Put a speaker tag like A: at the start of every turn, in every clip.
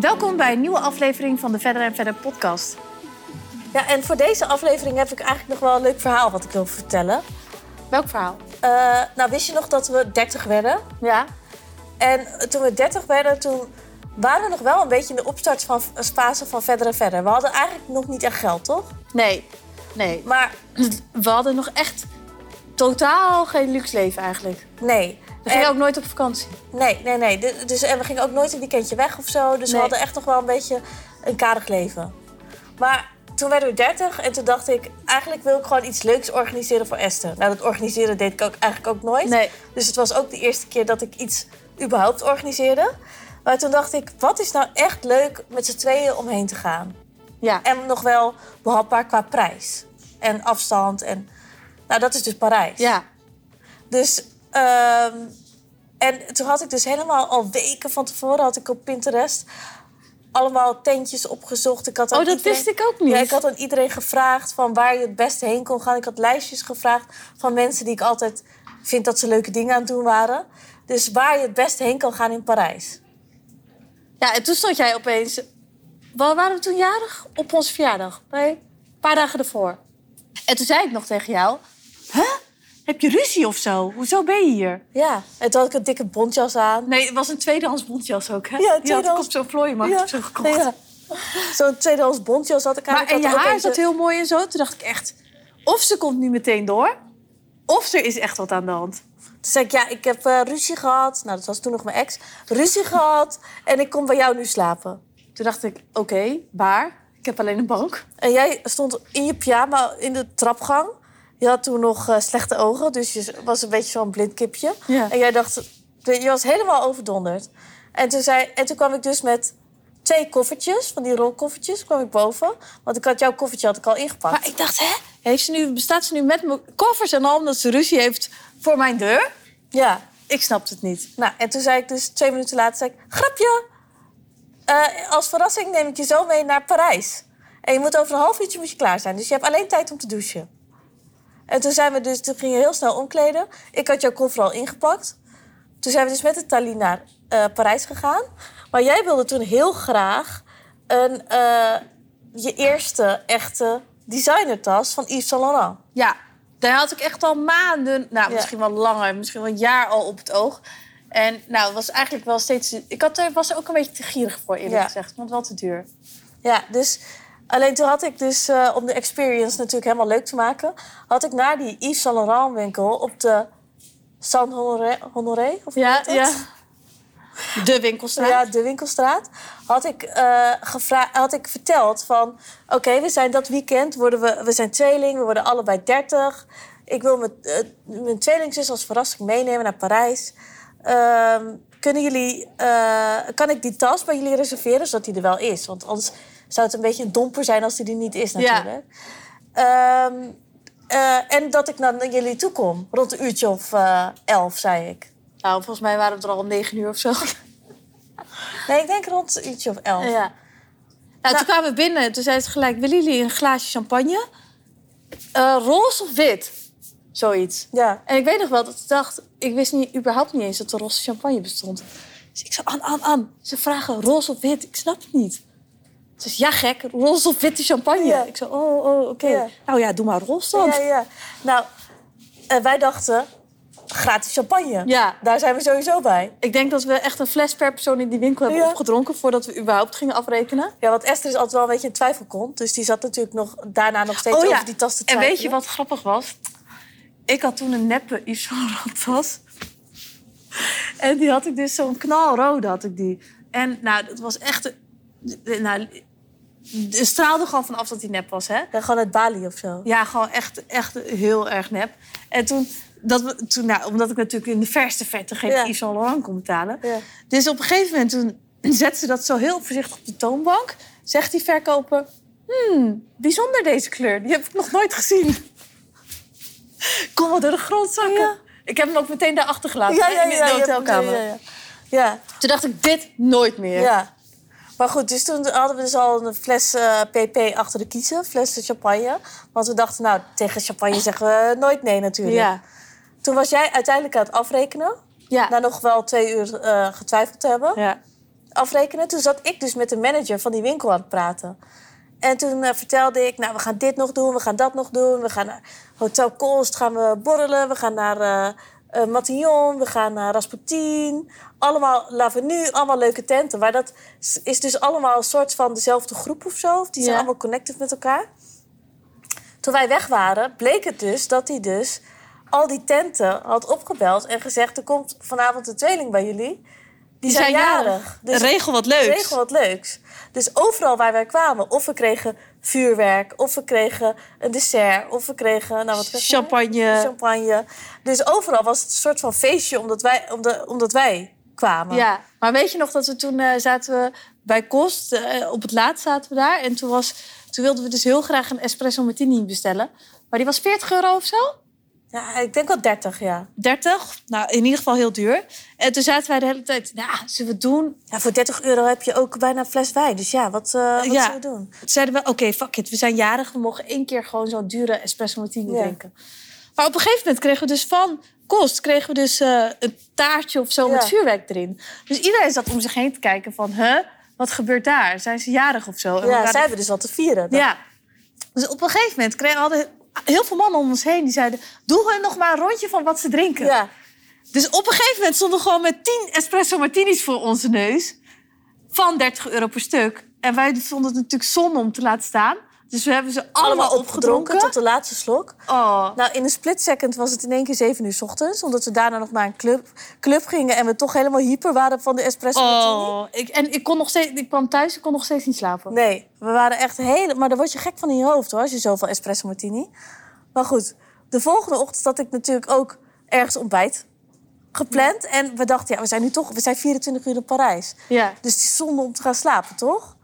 A: Welkom bij een nieuwe aflevering van de Verder en Verder podcast.
B: Ja, en voor deze aflevering heb ik eigenlijk nog wel een leuk verhaal wat ik wil vertellen.
A: Welk verhaal?
B: Eh, nou, wist je nog dat we 30 werden?
A: Ja.
B: En toen we 30 werden, toen waren we nog wel een beetje in de opstartfase van verder en verder. We hadden eigenlijk nog niet echt geld, toch?
A: Nee. Nee.
B: Maar
A: We hadden nog echt totaal geen luxe leven eigenlijk.
B: nee.
A: We gingen
B: En-
A: ook nooit op vakantie.
B: Nee, nee, nee. Du- Dus, en we gingen ook nooit een weekendje weg of zo. Dus
A: Nee.
B: we hadden echt nog wel een beetje een karig leven. Maar toen werden we 30 en toen dacht ik... eigenlijk wil ik gewoon iets leuks organiseren voor Esther. Nou, dat organiseren deed ik ook eigenlijk ook nooit.
A: Nee.
B: Dus het was ook de eerste keer dat ik iets überhaupt organiseerde. Maar toen dacht ik, wat is nou echt leuk met z'n tweeën omheen te gaan?
A: Ja.
B: En nog wel behapbaar qua prijs. En afstand en... Nou, dat is dus Parijs.
A: Ja.
B: Dus, ehm, en toen had ik dus helemaal al weken van tevoren had ik op Pinterest allemaal tentjes opgezocht. Ik had aan
A: Oh, dat
B: iedereen-
A: wist ik ook niet.
B: Ja, ik had aan iedereen gevraagd van waar je het beste heen kon gaan. Ik had lijstjes gevraagd van mensen die ik altijd vind dat ze leuke dingen aan het doen waren. Dus waar je het beste heen kan gaan in Parijs.
A: Ja, en toen stond jij opeens... Waar waren we toen jarig? Op onze verjaardag. Nee, een paar dagen ervoor. En toen zei ik nog tegen jou... Huh? Heb je ruzie of zo? Hoezo ben je hier?
B: Ja, en toen had ik een dikke bontjas aan.
A: Nee, het was een tweedehands bontjas ook, hè?
B: Ja,
A: Die had ik
B: tweedehands.
A: op zo'n vlooimarkt
B: Ja,
A: of zo gekocht.
B: ja. Zo'n tweedehands bontjas had ik aan.
A: Maar
B: Ik
A: en
B: had
A: je
B: ook
A: haar
B: eentje-
A: zat heel mooi en zo. Toen dacht ik echt, of ze komt nu meteen door... of er is echt wat aan de hand.
B: Toen zei ik, ja, ik heb eh, ruzie gehad. Nou, dat was toen nog mijn ex. Ruzie gehad en ik kom bij jou nu slapen.
A: Toen dacht ik, oké, waar? Ik heb alleen een bank.
B: En jij stond in je pyjama in de trapgang. Je had toen nog eh, slechte ogen, dus je was een beetje zo'n blind kipje.
A: Ja.
B: En jij dacht, eh, je was helemaal overdonderd. En toen, zei, en toen kwam ik dus met twee koffertjes, van die rolkoffertjes, kwam ik boven. Want ik had jouw koffertje had ik al ingepakt.
A: Maar ik dacht, hè? Heeft ze nu, bestaat ze nu met mijn koffers en al... omdat ze ruzie heeft voor mijn deur?
B: Ja,
A: Ik snapte het niet.
B: nou, en toen zei ik dus twee minuten later, zei ik, grapje. Eh, als verrassing neem ik je zo mee naar Parijs. En je moet over een half uurtje moet je klaar zijn. Dus je hebt alleen tijd om te douchen. En toen, zijn we dus, toen gingen we heel snel omkleden. Ik had jouw koffer al ingepakt. Toen zijn we dus met de Thalys naar eh, Parijs gegaan. Maar jij wilde toen heel graag een, eh, je eerste echte designertas van Yves Saint Laurent.
A: Ja, daar had ik echt al maanden, nou
B: Ja.
A: misschien wel langer, misschien wel een jaar al op het oog. En nou, het was eigenlijk wel steeds. Ik had er, was er ook een beetje te gierig voor, eerlijk
B: Ja.
A: gezegd. Want wat te duur.
B: Ja, dus alleen toen had ik dus, eh, om de experience natuurlijk helemaal leuk te maken, had ik naar die Yves Saint Laurent winkel op de San Honoré, Honoré of hoe heet dat?
A: De winkelstraat.
B: Ja, de winkelstraat. Had ik, eh, gevra- had ik verteld van... oké, we zijn dat weekend, worden we, we zijn tweeling, we worden allebei 30. Ik wil mijn, eh, mijn tweelingzus als verrassing meenemen naar Parijs. Ehm, kunnen jullie, eh, kan ik die tas bij jullie reserveren, zodat die er wel is? Want anders zou het een beetje een domper zijn als die er niet is
A: Ja.
B: natuurlijk. Ehm, eh, en dat ik dan naar jullie toe kom, rond een uurtje of eh, elf, zei ik.
A: Nou, volgens mij waren we er al om negen uur of zo.
B: Nee, ik denk rond een uurtje of elf.
A: Nou, toen kwamen we binnen en toen zei ze gelijk: willen jullie een glaasje champagne? Eh, roze of wit? Zoiets.
B: ja.
A: En ik weet nog wel dat ik dacht, ik wist niet, überhaupt niet eens dat er roze champagne bestond. Dus ik zei, An, An, An, ze vragen roze of wit. Ik snap het niet. Ze zei, ja gek, roze of witte champagne.
B: Ja.
A: Ik zei, oh, oh, oké.
B: Ja.
A: Nou ja, doe maar roze dan.
B: Ja, ja. Nou, eh, wij dachten, gratis champagne.
A: Ja.
B: Daar zijn we sowieso bij.
A: Ik denk dat we echt een fles per persoon in die winkel hebben
B: Ja.
A: opgedronken... voordat we überhaupt gingen afrekenen.
B: Ja, want Esther is altijd wel een beetje in twijfel kon. Dus die zat natuurlijk nog, daarna nog steeds over die tas te
A: Oh en
B: twijfelen.
A: weet je wat grappig was? Ik had toen een neppe Yves Saint Laurent tas. En die had ik dus zo'n knalrode had ik die. En nou, dat was echt... een- Nou, er straalde gewoon vanaf dat die nep was, hè?
B: Ja, gewoon uit Bali of zo.
A: Ja, gewoon echt, echt heel erg nep. En toen, dat, we- toen nou, omdat ik natuurlijk in de verste verte geen
B: Ja.
A: Yves Saint Laurent kon betalen.
B: Ja.
A: Dus op een gegeven moment toen zet ze dat zo heel voorzichtig op de toonbank. Zegt die verkoper, hmm, bijzonder deze kleur. Die heb ik nog nooit gezien. Kom wel door de grond zakken.
B: Ja.
A: Ik heb hem ook meteen daar achtergelaten
B: ja,
A: in de
B: je hebt-
A: hotelkamer.
B: Ja, ja, ja.
A: Toen dacht ik, dit nooit
B: Ja,
A: meer.
B: ja. Maar goed, dus toen hadden we dus al een fles eh, pp achter de kiezen. Fles champagne. Want we dachten, nou, tegen champagne zeggen we nooit nee natuurlijk.
A: ja.
B: Toen was jij uiteindelijk aan het afrekenen.
A: Ja.
B: Na nog wel twee uur eh, getwijfeld te hebben.
A: ja.
B: afrekenen. Toen zat ik dus met de manager van die winkel aan het praten. En toen eh, vertelde ik, nou, we gaan dit nog doen, we gaan dat nog doen. We gaan naar Hotel Koolst, gaan we borrelen. We gaan naar eh, eh, Matignon, we gaan naar Rasputin. Allemaal Lavenu, allemaal leuke tenten. Maar dat s- is dus allemaal een soort van dezelfde groep of zo. Of die zijn
A: Ja.
B: allemaal connected met elkaar. Toen wij weg waren, bleek het dus dat hij dus al die tenten had opgebeld... en gezegd, er komt vanavond een tweeling bij jullie. Die, zijn, jarig. Dus
A: regel wat leuks.
B: regel wat leuks. Dus overal waar wij kwamen, of we kregen vuurwerk, of we kregen een dessert, of we kregen nou, wat kregen we?
A: Champagne.
B: champagne. Dus overal was het een soort van feestje omdat wij, omdat, omdat wij kwamen.
A: Ja, maar weet je nog dat we toen eh, zaten we bij Kost, eh, op het laatst zaten we daar. En toen, was, toen wilden we dus heel graag een espresso martini bestellen. Maar die was 40 euro of zo?
B: Ja, ik denk wel 30, ja.
A: 30? Nou, in ieder geval heel duur. En toen zaten wij de hele tijd, nou, zullen we het doen?
B: ja. Voor 30 euro heb je ook bijna een fles wijn. Dus ja, wat, eh wat
A: Ja.
B: zou je doen?
A: Toen zeiden we, oké, fuck it, we zijn jarig. We mogen één keer gewoon zo'n dure espresso martini
B: Ja.
A: drinken. Maar op een gegeven moment kregen we dus van Kost... kregen we dus eh, een taartje of zo
B: Ja.
A: met vuurwerk erin. Dus iedereen zat om zich heen te kijken van, huh, wat gebeurt daar? Zijn ze jarig of zo? En we
B: Ja,
A: waren
B: zij hebben dus wat te vieren.
A: Ja. Dus op een gegeven moment kregen hadden heel veel mannen om ons heen die zeiden: Doe hun nog maar een rondje van wat ze drinken.
B: ja.
A: Dus op een gegeven moment stonden we gewoon met 10 espresso martinis voor onze neus. Van 30 euro per stuk. En wij vonden het natuurlijk zonde om te laten staan. Dus we hebben ze allemaal,
B: Allemaal
A: opgedronken.
B: opgedronken tot de laatste slok.
A: Oh.
B: Nou, in een split second was het in één keer 7 uur 's ochtends. Omdat we daarna nog naar een club, club gingen en we toch helemaal hyper waren van de espresso martini.
A: Oh, ik, en ik, kon nog steeds, ik kwam thuis, ik kon nog steeds niet slapen.
B: Nee, we waren echt hele... Maar daar word je gek van in je hoofd hoor, als je zoveel espresso martini. Maar goed, de volgende ochtend had ik natuurlijk ook ergens ontbijt gepland. En we dachten, ja, we zijn nu toch... We zijn 24 uur in Parijs.
A: Ja.
B: Dus het is zonde om te gaan slapen, toch?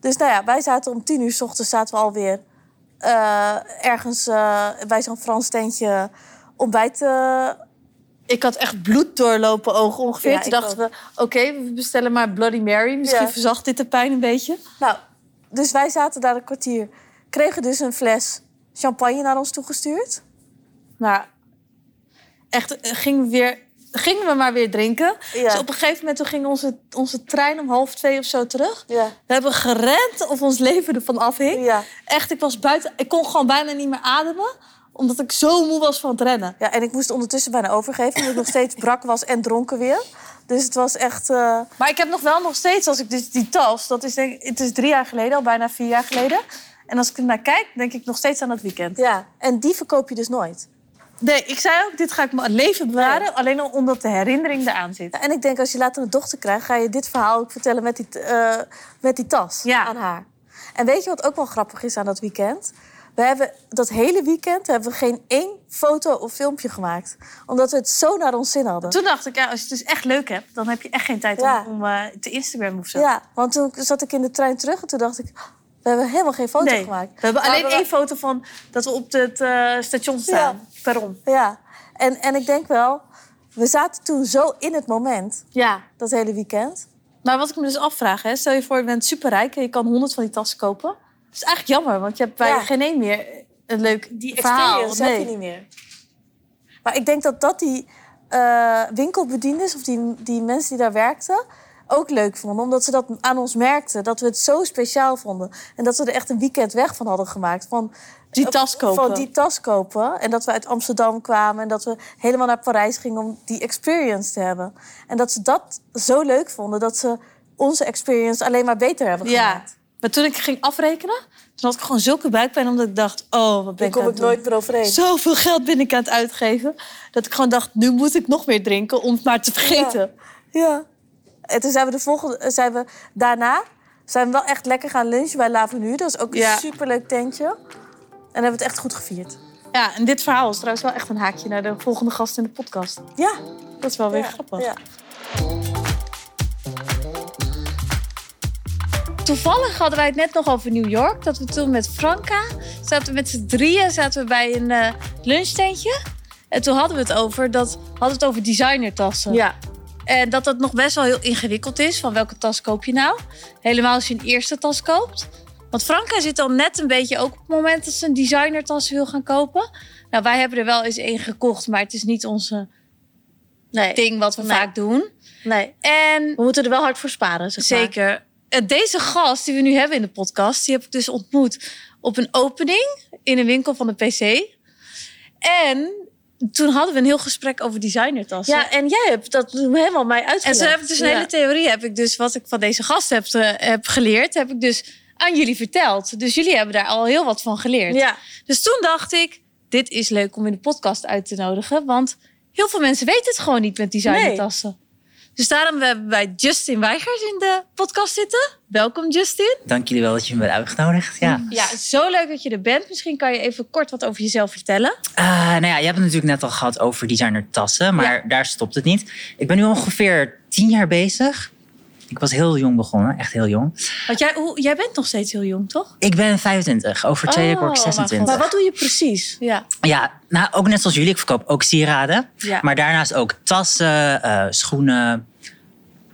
B: Dus nou ja, wij zaten om 10 uur 's ochtends zaten we alweer eh, ergens eh, bij zo'n Frans tentje ontbijt eh,
A: Ik had echt bloed doorlopen ogen ongeveer.
B: Ja,
A: Toen
B: ik
A: dachten
B: ook.
A: we, oké, we bestellen maar Bloody Mary. Misschien
B: Ja.
A: verzacht dit de pijn een beetje.
B: Nou, dus wij zaten daar een kwartier. Kregen dus een fles champagne naar ons toegestuurd.
A: Maar echt, eh, gingen we, weer, gingen we maar weer drinken.
B: Ja.
A: Dus op een gegeven moment toen ging onze, onze trein om half twee of zo terug.
B: Ja.
A: We hebben gerend of ons leven ervan afhing.
B: Ja.
A: Echt, ik was buiten. Ik kon gewoon bijna niet meer ademen. Omdat ik zo moe was van het rennen.
B: Ja, en ik moest ondertussen bijna overgeven. Omdat ik nog steeds brak was en dronken weer. Dus het was echt... eh,
A: Maar ik heb nog wel nog steeds, als ik dus die tas... Dat is denk, het is drie jaar geleden, al bijna vier jaar geleden. En als ik ernaar kijk, denk ik nog steeds aan dat weekend.
B: Ja, en die verkoop je dus nooit.
A: Nee, ik zei ook, dit ga ik mijn leven bewaren. Alleen al omdat de herinnering eraan zit.
B: Ja, en ik denk, als je later een dochter krijgt... ga je dit verhaal ook vertellen met die, t- eh, met die tas
A: Ja.
B: aan haar. En weet je wat ook wel grappig is aan dat weekend? We hebben dat hele weekend hebben we geen één foto of filmpje gemaakt. Omdat we het zo naar ons zin hadden.
A: Toen dacht ik, ja, als je het dus echt leuk hebt, dan heb je echt geen tijd om-
B: Ja.
A: om, eh, te Instagram of zo.
B: Ja, want toen zat ik in de trein terug en toen dacht ik... We hebben helemaal geen foto
A: nee.
B: gemaakt.
A: We hebben
B: Maar
A: alleen
B: we-
A: één foto van dat we op het eh, station staan. Perron.
B: Ja, en, en ik denk wel... We zaten toen zo in het moment,
A: Ja.
B: dat hele weekend.
A: Maar wat ik me dus afvraag, hè, stel je voor, je bent superrijk en je kan honderd van die tassen kopen. Dat is eigenlijk jammer, want je hebt bij
B: Ja.
A: geen één meer een leuk
B: Die
A: verhaal.
B: experience heb je niet meer. Maar ik denk dat dat die eh, winkelbedienders of die, die mensen die daar werkten... ook leuk vonden, omdat ze dat aan ons merkten. Dat we het zo speciaal vonden. En dat we er echt een weekend weg van hadden gemaakt. Van, eh,
A: Die tas kopen.
B: Van die tas kopen. En dat we uit Amsterdam kwamen. En dat we helemaal naar Parijs gingen om die experience te hebben. En dat ze dat zo leuk vonden dat ze onze experience alleen maar beter hebben
A: Ja.
B: gemaakt.
A: Maar toen ik ging afrekenen, toen had ik gewoon zulke buikpijn omdat ik dacht, oh, wat ben
B: Daar
A: ik aan
B: kom
A: het
B: ik
A: doen?
B: nooit meer overheen.
A: Zoveel geld ben ik aan het uitgeven. Dat ik gewoon dacht, nu moet ik nog meer drinken om het maar te vergeten.
B: Ja. En toen zijn we de volgende, eh, zijn we daarna zijn we wel echt lekker gaan lunchen bij Lavenu. Dat is ook een
A: Ja.
B: superleuk tentje. En hebben we het echt goed gevierd.
A: Ja, en dit verhaal is trouwens wel echt een haakje naar de volgende gast in de podcast.
B: Ja,
A: Dat is wel weer
B: ja,
A: grappig.
B: ja.
A: Toevallig hadden wij het net nog over New York. Dat we toen met Franka zaten we met z'n drieën zaten we bij een eh, lunchtentje. En toen hadden we het over, dat, hadden we het over designertassen.
B: Ja.
A: En dat dat nog best wel heel ingewikkeld is. Van welke tas koop je nou? Helemaal als je een eerste tas koopt. Want Franka zit al net een beetje ook op het moment dat ze een designertas wil gaan kopen. Nou, wij hebben er wel eens één gekocht, maar het is niet onze
B: Nee.
A: ding wat we
B: Nee.
A: vaak doen.
B: nee.
A: En
B: We moeten er wel hard voor sparen. Zeg maar.
A: zeker, eh, deze gast die we nu hebben in de podcast, die heb ik dus ontmoet op een opening in een winkel van de PC. En toen hadden we een heel gesprek over designertassen.
B: Ja, en jij hebt dat helemaal mij
A: En
B: uitgelegd.
A: zo heb ik dus een
B: Ja.
A: hele theorie, heb ik dus wat ik van deze gast heb, eh, heb geleerd, heb ik dus aan jullie verteld. Dus jullie hebben daar al heel wat van geleerd.
B: Ja,
A: Dus toen dacht ik, dit is leuk om in de podcast uit te nodigen. Want heel veel mensen weten het gewoon niet met designertassen. Dus daarom hebben wij Justin Weigers in de podcast zitten. Welkom Justin.
C: Dank jullie wel dat je me bent uitgenodigd. Ja.
A: Ja, zo leuk dat je er bent. Misschien kan je even kort wat over jezelf vertellen.
C: Eh, nou ja, je hebt het natuurlijk net al gehad over designer tassen, maar daar stopt het niet. Ik ben nu ongeveer tien jaar bezig. Ik was heel jong begonnen, echt heel jong.
A: Want jij, hoe, jij bent nog steeds heel jong, toch?
C: Ik ben 25, over twee
A: Oh,
C: weken word ik
A: maar
C: 26.
B: maar wat doe je precies?
A: Ja.
C: Ja, nou, ook net zoals jullie, ik verkoop ook sieraden.
A: Ja.
C: Maar daarnaast ook tassen, eh, schoenen,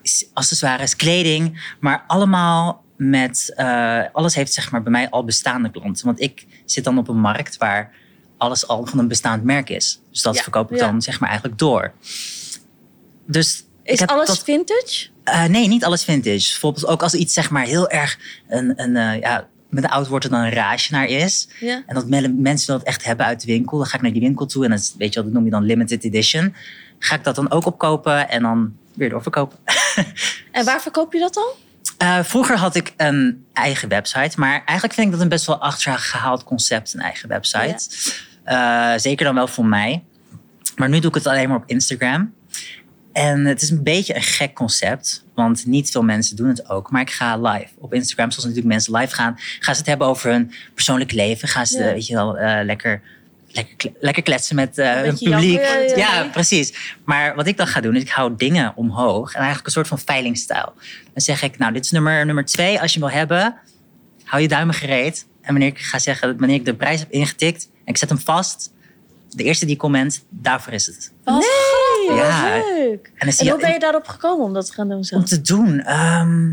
C: s- accessoires, kleding. Maar allemaal met, eh, alles heeft zeg maar bij mij al bestaande klanten. Want ik zit dan op een markt waar alles al van een bestaand merk is. Dus dat
B: Ja,
C: verkoop ik
B: ja.
C: dan zeg maar eigenlijk door. Dus ik
B: Is
C: heb
B: alles
C: dat-
B: vintage?
C: eh, nee, niet alles vintage. Bijvoorbeeld ook als iets zeg maar heel erg een, een eh, ja, met een oud woord er dan een raasje naar is.
B: Ja.
C: En dat mele- mensen dat echt hebben uit de winkel. Dan ga ik naar die winkel toe en dan, is- weet je wel, dat noem je dan limited edition. Ga ik dat dan ook opkopen en dan weer doorverkopen.
B: En waar verkoop je dat dan?
C: Eh, vroeger had ik een eigen website, maar eigenlijk vind ik dat een best wel achtergehaald concept, een eigen website. Eh, zeker dan wel voor mij. Maar nu doe ik het alleen maar op Instagram. En het is een beetje een gek concept, want niet veel mensen doen het ook. Maar ik ga live op Instagram, zoals natuurlijk mensen live gaan. Gaan ze het hebben over hun persoonlijk leven? Gaan ze,
B: Ja.
C: weet je wel, eh, lekker, lekker, kle- lekker kletsen met eh hun
B: beetje
C: publiek?
B: janken, ja, ja,
C: ja,
B: ja.
C: precies. Maar wat ik dan ga doen, is ik hou dingen omhoog. En eigenlijk een soort van veilingstijl. Dan zeg ik, nou, dit is nummer, nummer twee. Als je hem wil hebben, hou je duimen gereed. En wanneer ik ga zeggen, wanneer ik de prijs heb ingetikt en ik zet hem vast, de eerste die comment, daarvoor is het.
B: Nee, wat
C: Ja.
B: leuk.
C: En dan zie
B: En hoe
C: je
B: ben je daarop gekomen om dat te gaan doen zo?
C: om te doen. ehm,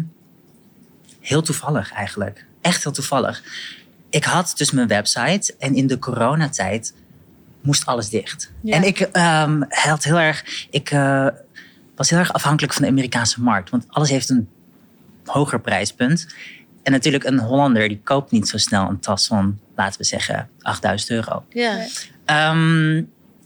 C: heel toevallig eigenlijk. Echt heel toevallig. Ik had dus mijn website en in de coronatijd moest alles dicht.
A: Ja.
C: En ik ehm, had heel erg. Ik eh, was heel erg afhankelijk van de Amerikaanse markt. Want alles heeft een hoger prijspunt. En natuurlijk, een Hollander die koopt niet zo snel een tas van, laten we zeggen, 8000 euro.
B: Ja.
C: Ehm,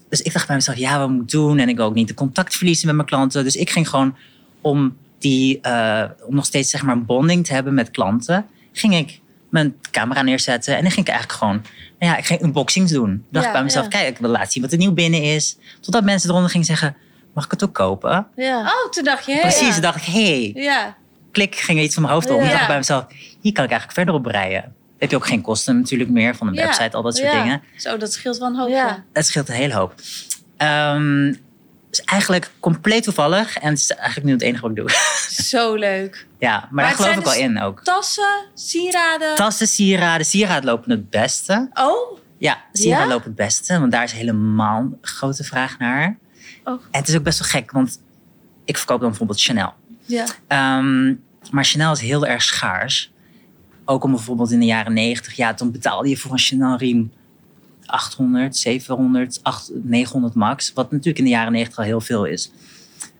C: dus ik dacht bij mezelf, ja, wat moet ik doen? En ik wil ook niet de contact verliezen met mijn klanten. Dus ik ging gewoon om, die, eh, om nog steeds zeg maar, een bonding te hebben met klanten, ging ik mijn camera neerzetten. En dan ging ik eigenlijk gewoon, nou ja, ik ging unboxings doen. Ik dacht
B: Ja,
C: bij mezelf,
B: ja.
C: kijk, ik wil laten zien wat er nieuw binnen is. Totdat mensen eronder gingen zeggen, mag ik het ook kopen?
B: ja.
A: Oh, toen dacht je, hé,
C: Precies,
A: ja.
C: toen dacht ik, hey,
A: Ja.
C: klik ging er iets van mijn hoofd om.
B: Ja.
C: Ik dacht bij mezelf, hier kan ik eigenlijk verder op breien. Dan heb je ook geen kosten natuurlijk meer van een
A: Ja.
C: website, al dat soort
A: Ja.
C: dingen.
A: Zo, dat scheelt wel een hoop.
B: Ja.
A: ja.
C: Het scheelt een hele hoop. Ehm dus eigenlijk compleet toevallig. En het is eigenlijk nu het enige wat ik doe.
A: Zo leuk.
C: ja, maar, daar
A: het
C: geloof
A: zijn
C: ik wel
A: dus-
C: in ook.
A: Tassen, sieraden.
C: Tassen, sieraden. Sieraden lopen het beste.
A: oh,
C: Ja, sieraden
B: Ja?
C: lopen het beste. Want daar is helemaal een grote vraag naar.
A: Oh.
C: En het is ook best wel gek. Want ik verkoop dan bijvoorbeeld Chanel.
A: ja.
C: Ehm, maar Chanel is heel erg schaars. Ook om bijvoorbeeld in de jaren 90, ja, toen betaalde je voor een Chanel riem 800, 700, 8, 900 max. Wat natuurlijk in de jaren 90 al heel veel is.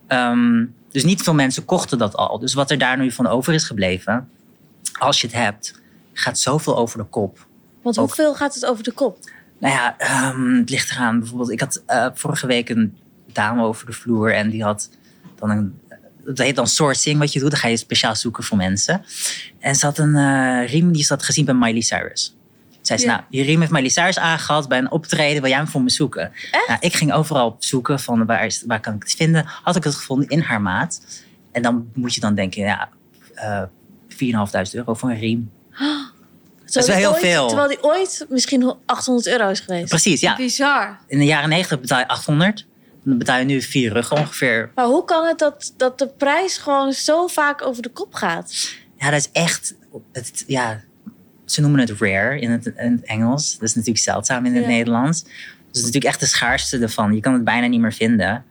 C: Ehm, dus niet veel mensen kochten dat al. Dus wat er daar nu van over is gebleven, als je het hebt, gaat zoveel over de kop.
B: Want
C: Ook.
B: hoeveel gaat het over de kop?
C: Nou ja, ehm, het ligt eraan. Bijvoorbeeld, ik had eh, vorige week een dame over de vloer en die had dan een. Dat heet dan sourcing, wat je doet. Dan ga je speciaal zoeken voor mensen. En ze had een eh, riem die ze had gezien bij Miley Cyrus. Zei ze,
A: Ja.
C: nou, die riem heeft Miley Cyrus aangehad bij een optreden. Wil jij hem voor me zoeken? Nou, ik ging overal op zoeken van waar, is- waar kan ik het vinden. Had ik het gevonden in haar maat. En dan moet je dan denken, ja, eh 4.500 euro voor een riem.
B: Dat
C: wel heel veel.
B: Terwijl die ooit misschien 800 euro is geweest.
C: Precies, ja.
A: Bizar.
C: In de jaren 90 betaal je 800. Dan betaal je nu vier ruggen ongeveer.
B: Maar hoe kan het dat, dat de prijs gewoon zo vaak over de kop gaat?
C: Ja, dat is echt. Het, ja, ze noemen het rare in het, in het Engels. Dat is natuurlijk zeldzaam in het
B: Ja.
C: Nederlands. Dus het is natuurlijk echt de schaarste ervan. Je kan het bijna niet meer vinden.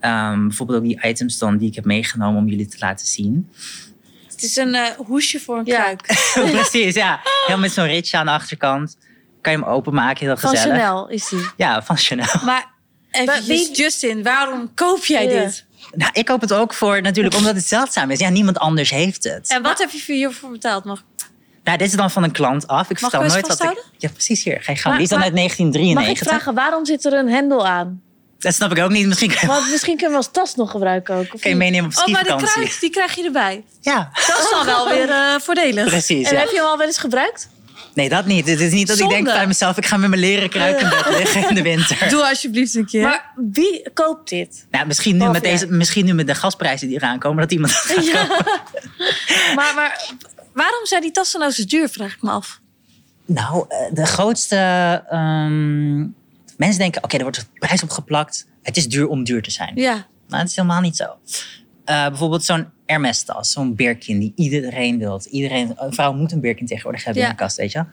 C: Ehm, bijvoorbeeld ook die items dan die ik heb meegenomen om jullie te laten zien.
A: Het is een eh, hoesje voor een
B: Ja.
A: kruik.
C: Precies, ja. Helemaal met zo'n ritje aan de achterkant. Kan je hem openmaken, heel
B: Van
C: gezellig.
B: Chanel is die.
C: Ja, van Chanel.
A: Maar Wa- Wie is Justin? Waarom koop jij
B: Ja.
A: dit?
C: Nou, ik hoop het ook voor natuurlijk omdat het zeldzaam is. Ja, niemand anders heeft het.
A: En wat heb je hiervoor betaald? Mag,
C: Nou, dit is dan van een klant af. Ik
A: Mag
C: vertel
A: ik hem
C: nooit
A: eens
C: wat ik...
A: vasthouden?
C: Ja, precies hier. Ga je gang.
B: Maar-
C: Die is dan
B: maar-
C: uit
B: Mag ik
C: 1993.
B: vragen, waarom zit er een hendel aan?
C: Dat snap ik ook niet. Misschien kan je,
B: Want misschien kunnen we als tas nog gebruiken ook. Of
C: kan je
B: niet?
C: meenemen
A: oh,
C: op
A: maar die
C: skivakantie.
A: kruid, die krijg je erbij.
C: Ja,
A: Dat is dan wel weer eh, voordelig.
C: precies.
B: en
C: Ja.
B: heb je hem al wel eens gebruikt?
C: Nee, dat niet. Het is niet dat ik denk
A: Zonde.
C: bij mezelf... ik ga met mijn leren kruid in bed liggen in de winter.
A: Eh, Doe alsjeblieft een keer.
B: Maar wie koopt dit?
C: Nou, misschien nu,
B: Of
C: met
B: ja.
C: deze, misschien nu met de gasprijzen die eraan komen... dat iemand het gaat kopen.
A: Maar, maar waarom zijn die tassen nou zo duur, vraag ik me af.
C: Nou, eh, de grootste... ehm, mensen denken, oké, er wordt een prijs op geplakt. Het is duur om duur te zijn.
A: Ja.
C: Nou, dat is helemaal niet zo. Eh, bijvoorbeeld zo'n Hermes-tas, zo'n Birkin die iedereen wilt. Iedereen, een vrouw moet een Birkin tegenwoordig hebben in
A: Ja.
C: de kast, weet je.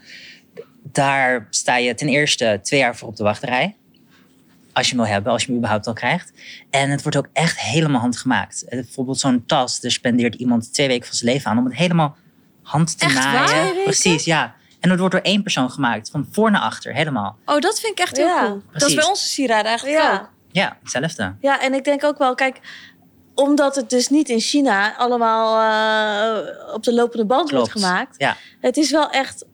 C: Daar sta je ten eerste twee jaar voor op de wachtrij. Als je hem wil hebben, als je hem überhaupt al krijgt. En het wordt ook echt helemaal handgemaakt. Eh, Bijvoorbeeld zo'n tas, daar spendeert iemand twee weken van zijn leven aan om het helemaal hand te
A: Echt waar? Twee
C: naaien.
A: weken?
C: Precies, ja. En dat wordt door één persoon gemaakt, van voor naar achter, helemaal.
A: Oh, dat vind ik echt heel
B: Ja,
A: cool. Dat is
C: precies.
A: bij onze sieraden eigenlijk
B: Ja.
A: ook.
C: Ja, hetzelfde.
B: Ja, en ik denk ook wel, kijk, omdat het dus niet in China allemaal eh, op de lopende band
C: Klopt.
B: wordt gemaakt.
C: Ja,
B: Het is wel echt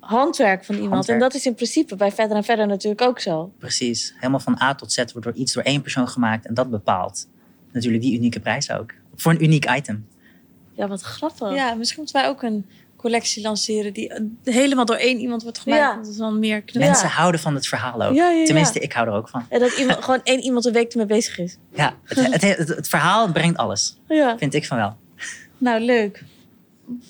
B: handwerk van iemand.
C: Handwerk.
B: En dat is in principe bij verder en verder natuurlijk ook zo.
C: Precies. Helemaal van A tot Z wordt door iets door één persoon gemaakt. En dat bepaalt natuurlijk die unieke prijs ook. Voor een uniek item.
B: Ja, wat grappig.
A: Ja, misschien moeten wij ook een collectie lanceren die eh, helemaal door één iemand wordt gemaakt.
B: Ja.
A: Dat is dan meer knap.
C: Mensen houden van het verhaal ook.
B: Ja, ja, ja.
C: Tenminste, ik hou er ook van.
B: En dat iemand, gewoon één iemand een week ermee bezig is.
C: Ja, het, het, het, het verhaal brengt alles.
B: Ja.
C: Vind ik van wel.
A: Nou, leuk.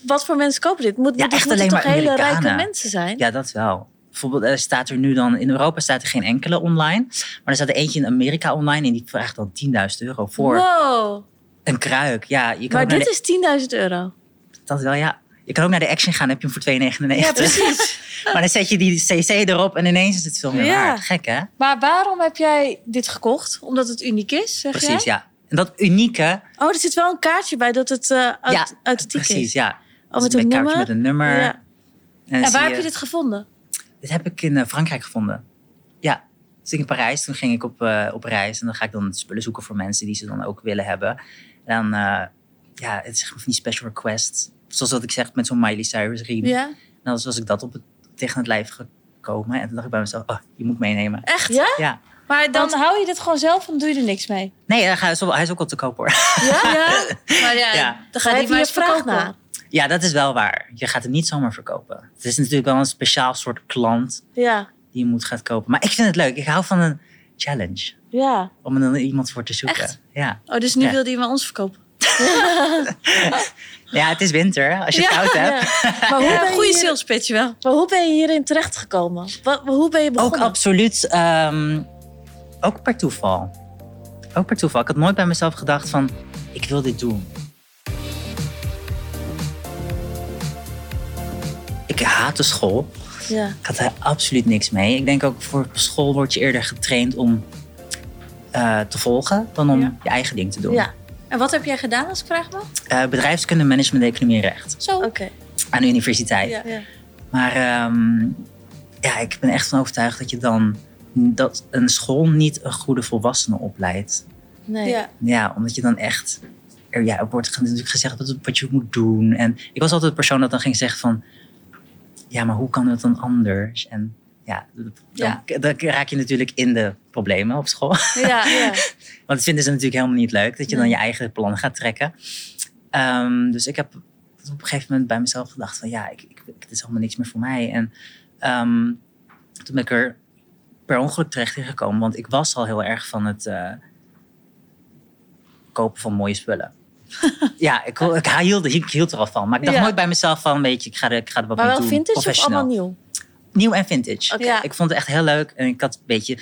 B: Wat voor mensen kopen dit? Moet,
C: Ja,
B: dit
C: echt
B: moeten
C: alleen
B: toch
C: maar
B: hele
C: Amerikanen.
B: rijke mensen zijn?
C: Ja, dat wel. Bijvoorbeeld er staat er nu dan... In Europa staat er geen enkele online. Maar er staat er eentje in Amerika online. En die vraagt dan 10.000 euro voor
B: Wow.
C: een kruik. Ja, je kan
B: Maar
C: ook naar
B: dit is 10.000 euro.
C: de, dat wel, ja. Je kan ook naar de Action gaan, dan heb je hem voor 2,99. Ja, precies. maar dan zet je die CC erop en ineens is het veel meer
A: Ja.
C: waard. Gek, hè?
A: Maar waarom heb jij dit gekocht? Omdat het uniek is, zeg
C: Precies,
A: jij?
C: ja. En dat unieke,
B: Oh, er zit wel een kaartje bij dat het eh uit,
C: Ja,
B: authentiek
C: precies,
B: is.
C: ja. Dat
B: met
C: is
B: een
C: kaartje
B: nummer?
C: Met een nummer.
B: Ja.
C: En,
A: En
C: zie
A: waar heb
C: je-
A: je dit gevonden?
C: Dit heb ik in eh, Frankrijk gevonden. Ja, dus ik in Parijs. Toen ging ik op, eh, op reis. En dan ga ik dan spullen zoeken voor mensen die ze dan ook willen hebben. En dan, eh, ja, het is gewoon van die special request. Zoals wat ik zeg, met zo'n Miley Cyrus riem.
A: Ja.
C: En dan was ik dat op het, tegen het lijf gekomen. En toen dacht ik bij mezelf, oh, je moet meenemen.
A: Echt?
B: Ja?
C: Ja.
A: Maar dan hou je dit gewoon zelf en doe je er niks mee.
C: Nee, hij is, wel- hij is ook al te koop hoor.
A: Ja? ja. Maar ja,
C: Ja.
A: dan
B: Ga je
A: gaat die maar
B: hier
A: eens
B: vraag
A: verkopen.
B: naar?
C: Ja, dat is wel waar. Je gaat hem niet zomaar verkopen. Het is natuurlijk wel een speciaal soort klant
B: Ja,
C: die je moet gaan kopen. Maar ik vind het leuk. Ik hou van een challenge.
B: ja.
C: Om er dan iemand voor te zoeken.
A: Echt?
C: Ja.
A: Oh, dus nu
C: Ja.
A: wil die maar ons verkopen.
C: ja, het is winter. hè, Als je het koud hebt.
B: Maar hoe,
A: Ja,
B: ben,
A: goede
B: je hier,
A: sales pitch wel.
B: maar hoe ben je hierin terechtgekomen? Wat, hoe ben je
C: Ook
B: begonnen?
C: absoluut. ehm, ook per toeval. Ook per toeval. Ik had nooit bij mezelf gedacht van... Ik wil dit doen. Ik haatte school.
B: ja.
C: Ik had daar absoluut niks mee. Ik denk ook voor school word je eerder getraind om eh, te volgen dan om
A: Ja.
C: je eigen ding te doen.
B: ja.
A: En wat heb jij gedaan als ik vraag mag?
C: Eh, bedrijfskunde, management, economie en recht
A: Zo.
B: Oké.
C: aan de universiteit.
A: Ja.
B: Ja.
C: Maar ehm, ja, ik ben echt van overtuigd dat je dan dat een school niet een goede volwassene opleidt.
B: Nee.
A: Ja.
C: Ja, omdat je dan echt er ja, er wordt ge- natuurlijk gezegd wat, wat je moet doen. En ik was altijd de persoon dat dan ging zeggen van ja, maar hoe kan het dan anders? En ja, dan,
A: Ja.
C: dan raak je natuurlijk in de problemen op school.
A: Ja.
C: Want dat vinden ze natuurlijk helemaal niet leuk, dat je dan je eigen plan gaat trekken. Ehm, dus ik heb op een gegeven moment bij mezelf gedacht van ja, ik, ik, het is allemaal niks meer voor mij. En ehm, toen ben ik er per ongeluk terecht in gekomen, want ik was al heel erg van het eh, kopen van mooie spullen. ja, ik, ik, hield, ik hield er al van. Maar ik dacht
A: Ja.
C: nooit bij mezelf van, weet je, ik ga er, ik ga er wat
B: Maar
C: mee
B: wel
C: doen.
B: vintage of
C: professioneel
B: allemaal nieuw?
C: nieuw en vintage.
A: Oké. Ja.
C: Ik vond het echt heel leuk. En ik had een beetje...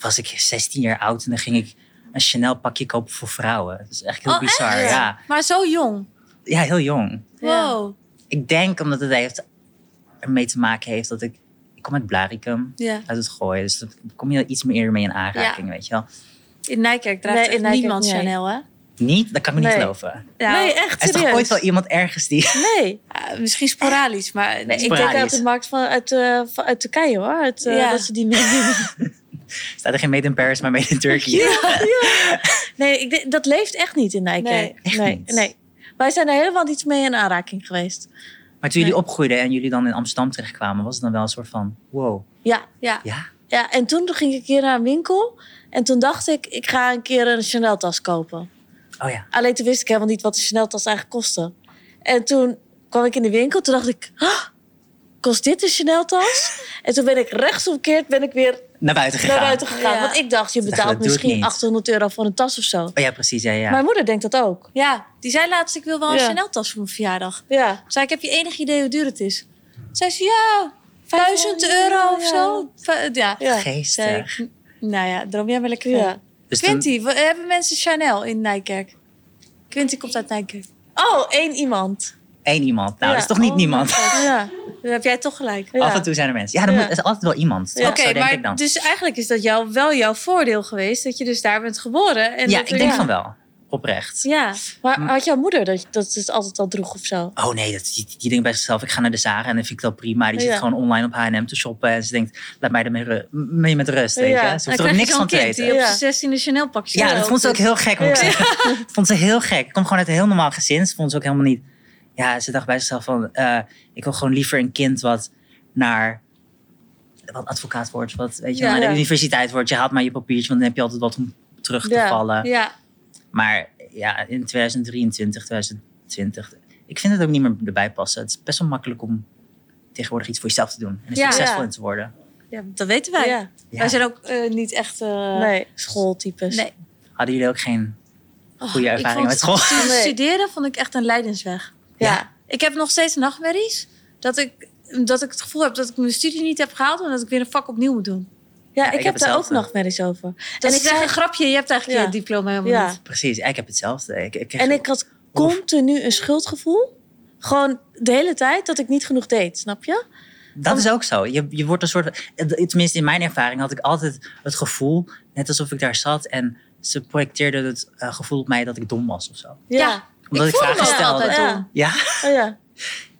C: Was ik 16 jaar oud en dan ging ik een Chanel pakje kopen voor vrouwen. Dat is echt heel
A: Oh, echt?
C: bizar. Ja.
A: Maar zo jong.
C: ja, heel jong.
B: Ja.
A: Wow.
C: Ik denk omdat het heeft, ermee te maken heeft dat ik... Ik kom uit Blaricum,
A: Ja.
C: uit het gooien. Dus dan kom je iets meer mee in aanraking, weet je wel.
A: In Nijkerk draagt
B: Nee, in
A: echt
B: Nijkerk
A: niemand
B: niet.
A: Chanel, hè?
C: Niet? Dat kan ik me
B: Nee.
C: niet geloven.
A: Ja.
B: nee, echt
C: Er is
B: serieus.
C: toch ooit wel iemand ergens die...
B: Nee.
A: Ah, misschien sporadisch, maar...
C: Nee,
B: Ik denk
C: sporadisch.
B: uit de markt van, uit, eh, van- uit Turkije hoor. Uit, eh,
A: Ja.
B: Dat ze die meenemen.
C: Staat er geen Made in Paris, maar Made in Turkey?
B: Nee, ik, denk- dat leeft echt niet in Nijkerk.
D: Nee,
C: echt
B: nee,
C: niet.
B: nee. Wij zijn er helemaal niet mee in aanraking geweest.
C: Maar toen jullie opgroeiden en jullie dan in Amsterdam terechtkwamen, was het dan wel een soort van, wow,
B: Ja, ja.
C: ja?
B: ja. En toen ging ik een keer naar een winkel. En toen dacht ik, ik ga een keer een Chanel-tas kopen.
C: Oh ja.
B: Alleen toen wist ik helemaal niet wat de Chanel-tas eigenlijk kostte. En toen kwam ik in de winkel. Toen dacht ik, "Ah, kost dit een Chanel-tas? en toen ben ik rechtsomkeerd ben ik weer
C: Naar buiten gegaan.
B: naar buiten gegaan.
D: Ja.
B: Want ik dacht, je
C: dacht, dat
B: betaalt
C: doe ik
B: misschien
C: niet.
B: 800 euro voor een tas of zo.
C: Oh ja, precies, ja, ja.
B: Mijn moeder denkt dat ook.
A: Ja, die zei laatst, ik wil wel een
B: Ja.
A: Chanel-tas voor mijn verjaardag.
B: Ja.
A: Zei ik, heb je enig idee hoe duur het is? Zei ze, ja, 1000 euro of zo. Va- Ja.
B: Ja.
A: Zei
C: Geestig.
A: ik, nou ja, droom jij maar lekker
B: Ja.
A: verder.
C: Dus toen-
A: Quinty, we hebben mensen Chanel in Nijkerk? Quinty komt uit Nijkerk.
B: Oh, één iemand.
C: Eén iemand. Nou,
B: Ja. Oh,
C: dat is toch niet
A: Oh,
C: niemand?
B: Ja.
A: Dan heb jij toch gelijk.
B: ja.
C: Af en toe zijn er mensen. Ja, er
B: Ja.
C: moet- er is altijd wel iemand. toch?
A: Oh, Oké,
C: Zo denk
A: maar
C: ik dan.
A: dus eigenlijk is dat jou, wel jouw voordeel geweest dat je dus daar bent geboren. En
C: ja,
A: dat
C: ik
A: er-
C: denk
A: ja.
C: van wel. Oprecht.
A: Ja,
B: Maar
C: Hm.
B: had jouw moeder dat, dat ze het altijd al droeg of zo?
C: Oh nee, dat, die, die denkt bij zichzelf, ik ga naar de Zara en dan vind ik dat prima. Die
B: Ja.
C: zit gewoon online op H&M te shoppen en ze denkt, laat mij ermee ru- mee met rust. Weet je?
B: Ja.
C: Ze
A: dan
C: hoeft er
A: krijg
C: ook
A: je
C: niks
A: zo'n
C: van te
A: kind
C: weten.
A: die op
B: Ja.
A: zijn 16e Chanel pakje
C: Ja, dat vond ze ook heel gek, moet ik
B: dus- Ja.
C: zeggen. vond ze heel gek. Komt gewoon uit een heel normaal gezin. Ze vond ze ook helemaal niet... Ja, ze dacht bij zichzelf van... eh, ik wil gewoon liever een kind wat naar... Wat advocaat wordt, wat weet je,
B: Ja.
C: naar de
B: Ja.
C: universiteit wordt. Je haalt maar je papiertje, want dan heb je altijd wat om terug te
B: Ja.
C: vallen.
A: Dus- Ja,
C: Maar ja, in 2023, 2020... Ik vind het ook niet meer erbij passen. Het is best wel makkelijk om tegenwoordig iets voor jezelf te doen. En er
A: Ja.
C: succesvol
B: Ja.
C: in te worden.
A: ja, dat weten wij.
B: Ja.
C: Ja.
A: Wij zijn ook eh, niet echt... eh,
B: Nee, schooltypes.
A: nee.
C: Hadden jullie ook geen goede
A: Oh, ik
C: ervaringen
A: vond-
C: met school?
A: Toen
B: Nee.
A: studeren vond ik echt een leidensweg.
B: Ja.
A: Ik heb nog steeds nachtmerries dat ik, dat ik het gevoel heb dat ik mijn studie niet heb gehaald... en dat ik weer een vak opnieuw moet doen.
B: Ja, ik,
C: ik heb
B: heb daar ook
C: hetzelfde.
B: nog wel eens over.
A: en ik
B: ik
A: zeg
B: zei-
A: een grapje, je hebt eigenlijk
B: Ja.
A: je diploma helemaal
B: Ja.
A: niet.
C: Precies, ik heb hetzelfde. Ik, ik kreeg
B: En ik had continu een schuldgevoel. Gewoon de hele tijd dat ik niet genoeg deed, snap je?
C: Dat is ook zo. Je, je wordt een soort. eh, Tenminste, in mijn ervaring had ik altijd het gevoel, net alsof ik daar zat en ze projecteerde het eh, gevoel op mij dat ik dom was of zo.
A: Ja.
C: Omdat ik,
A: voelde
C: vragen
A: me ook
C: stelde.
A: altijd
B: Ja.
A: dom.
C: Ja,
B: Oh ja.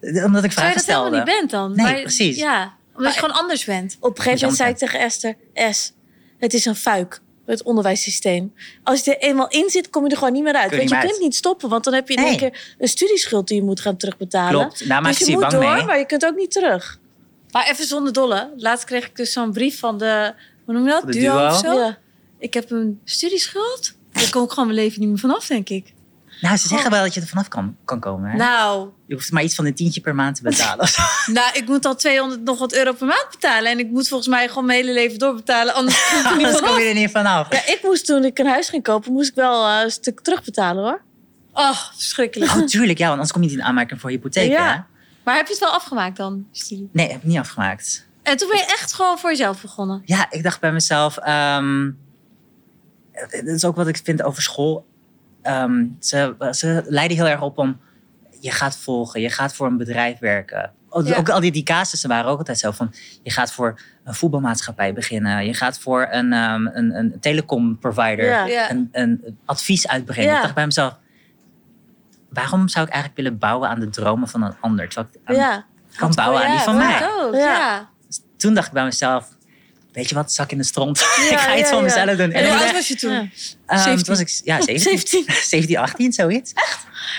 C: Eh, omdat
A: Terwijl
C: ik vragen
A: je dat helemaal
C: stelde.
A: niet bent dan.
C: Nee,
A: Maar-
C: precies.
A: Ja, omdat je gewoon anders bent.
B: Op een gegeven moment
C: Jammer.
B: zei ik tegen Esther... S, het is een fuik, het onderwijssysteem. Als je er eenmaal in zit, kom je er gewoon niet meer uit.
C: Kun je
B: Want je
C: niet meer
B: kunt niet stoppen, want dan heb je in
C: Nee.
B: één keer een studieschuld die je moet gaan terugbetalen.
C: Klopt, daar maak
B: dus
C: ik
B: je
C: je
B: moet
C: bang
B: door,
C: mee.
B: maar je kunt ook niet terug.
A: Maar even zonder dolle. Laatst kreeg ik dus zo'n brief van de... Hoe noem je dat?
C: De
A: duo,
C: duo.
A: of zo.
B: Ja.
A: Ik heb een studieschuld. Daar kom ik gewoon mijn leven niet meer vanaf, denk ik.
C: Nou, ze zeggen wel dat je er vanaf kan, kan komen. Hè?
A: Nou,
C: Je hoeft maar iets van een tientje per maand te betalen. of zo.
A: nou, ik moet al 200 nog wat euro per maand betalen. En ik moet volgens mij gewoon mijn hele leven doorbetalen. Anders kom ik er niet
C: Anders
A: vanaf.
C: kom je er niet vanaf.
B: Ja, ik moest toen ik een huis ging kopen, moest ik wel eh, een stuk terugbetalen hoor.
A: Oh, verschrikkelijk.
C: Oh, tuurlijk, ja, want anders kom je niet in aanmerking voor hypotheek.
B: Ja.
C: hè?
A: Maar heb je het wel afgemaakt dan? je studie?
C: Nee, heb ik niet afgemaakt.
A: En toen ben je echt gewoon voor jezelf begonnen.
C: Ja, ik dacht bij mezelf. ehm, dat is ook wat ik vind over school. Ehm, ze, ze leiden heel erg op om. Je gaat volgen, je gaat voor een bedrijf werken. Ook-
A: Ja.
C: Ook al die, die casussen waren ook altijd zo van. Je gaat voor een voetbalmaatschappij beginnen. Je gaat voor een, ehm een, een telecom provider.
B: Ja.
A: Ja.
C: Een, een advies uitbrengen.
B: Ja.
C: Ik dacht bij mezelf. Waarom zou ik eigenlijk willen bouwen aan de dromen van een ander? Terwijl ik aan-
B: Ja. Oh,
C: kan
A: Oh
C: bouwen Nou, aan die van
A: hoor
C: mij.
A: ik ook,
B: Ja.
A: ja.
C: Toen dacht ik bij mezelf. Weet je wat, zak in de stront. ik ga
B: ja,
C: iets van
B: ja.
C: mezelf
A: En
C: doen. ik
A: hoe
C: dacht,
A: oud was je toen?
B: Ja.
C: Ehm,
A: 17.
C: toen was ik, ja, 17. 17, 18, zoiets.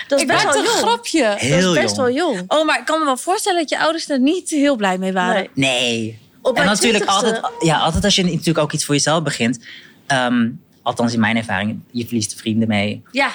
B: Dat is
A: Ik
B: best
A: maakte
B: wel
A: een
B: jong.
A: grapje.
B: Dat
C: Heel
B: is best
C: jong.
B: wel jong.
A: Oh, maar ik kan me wel voorstellen dat je ouders er niet heel blij mee waren.
B: Nee.
C: Nee.
B: Op
C: en
B: mijn
C: natuurlijk
B: twintigste.
C: altijd, ja, altijd als je natuurlijk ook iets voor jezelf begint. ehm, althans in mijn ervaring, je verliest vrienden mee.
A: Ja,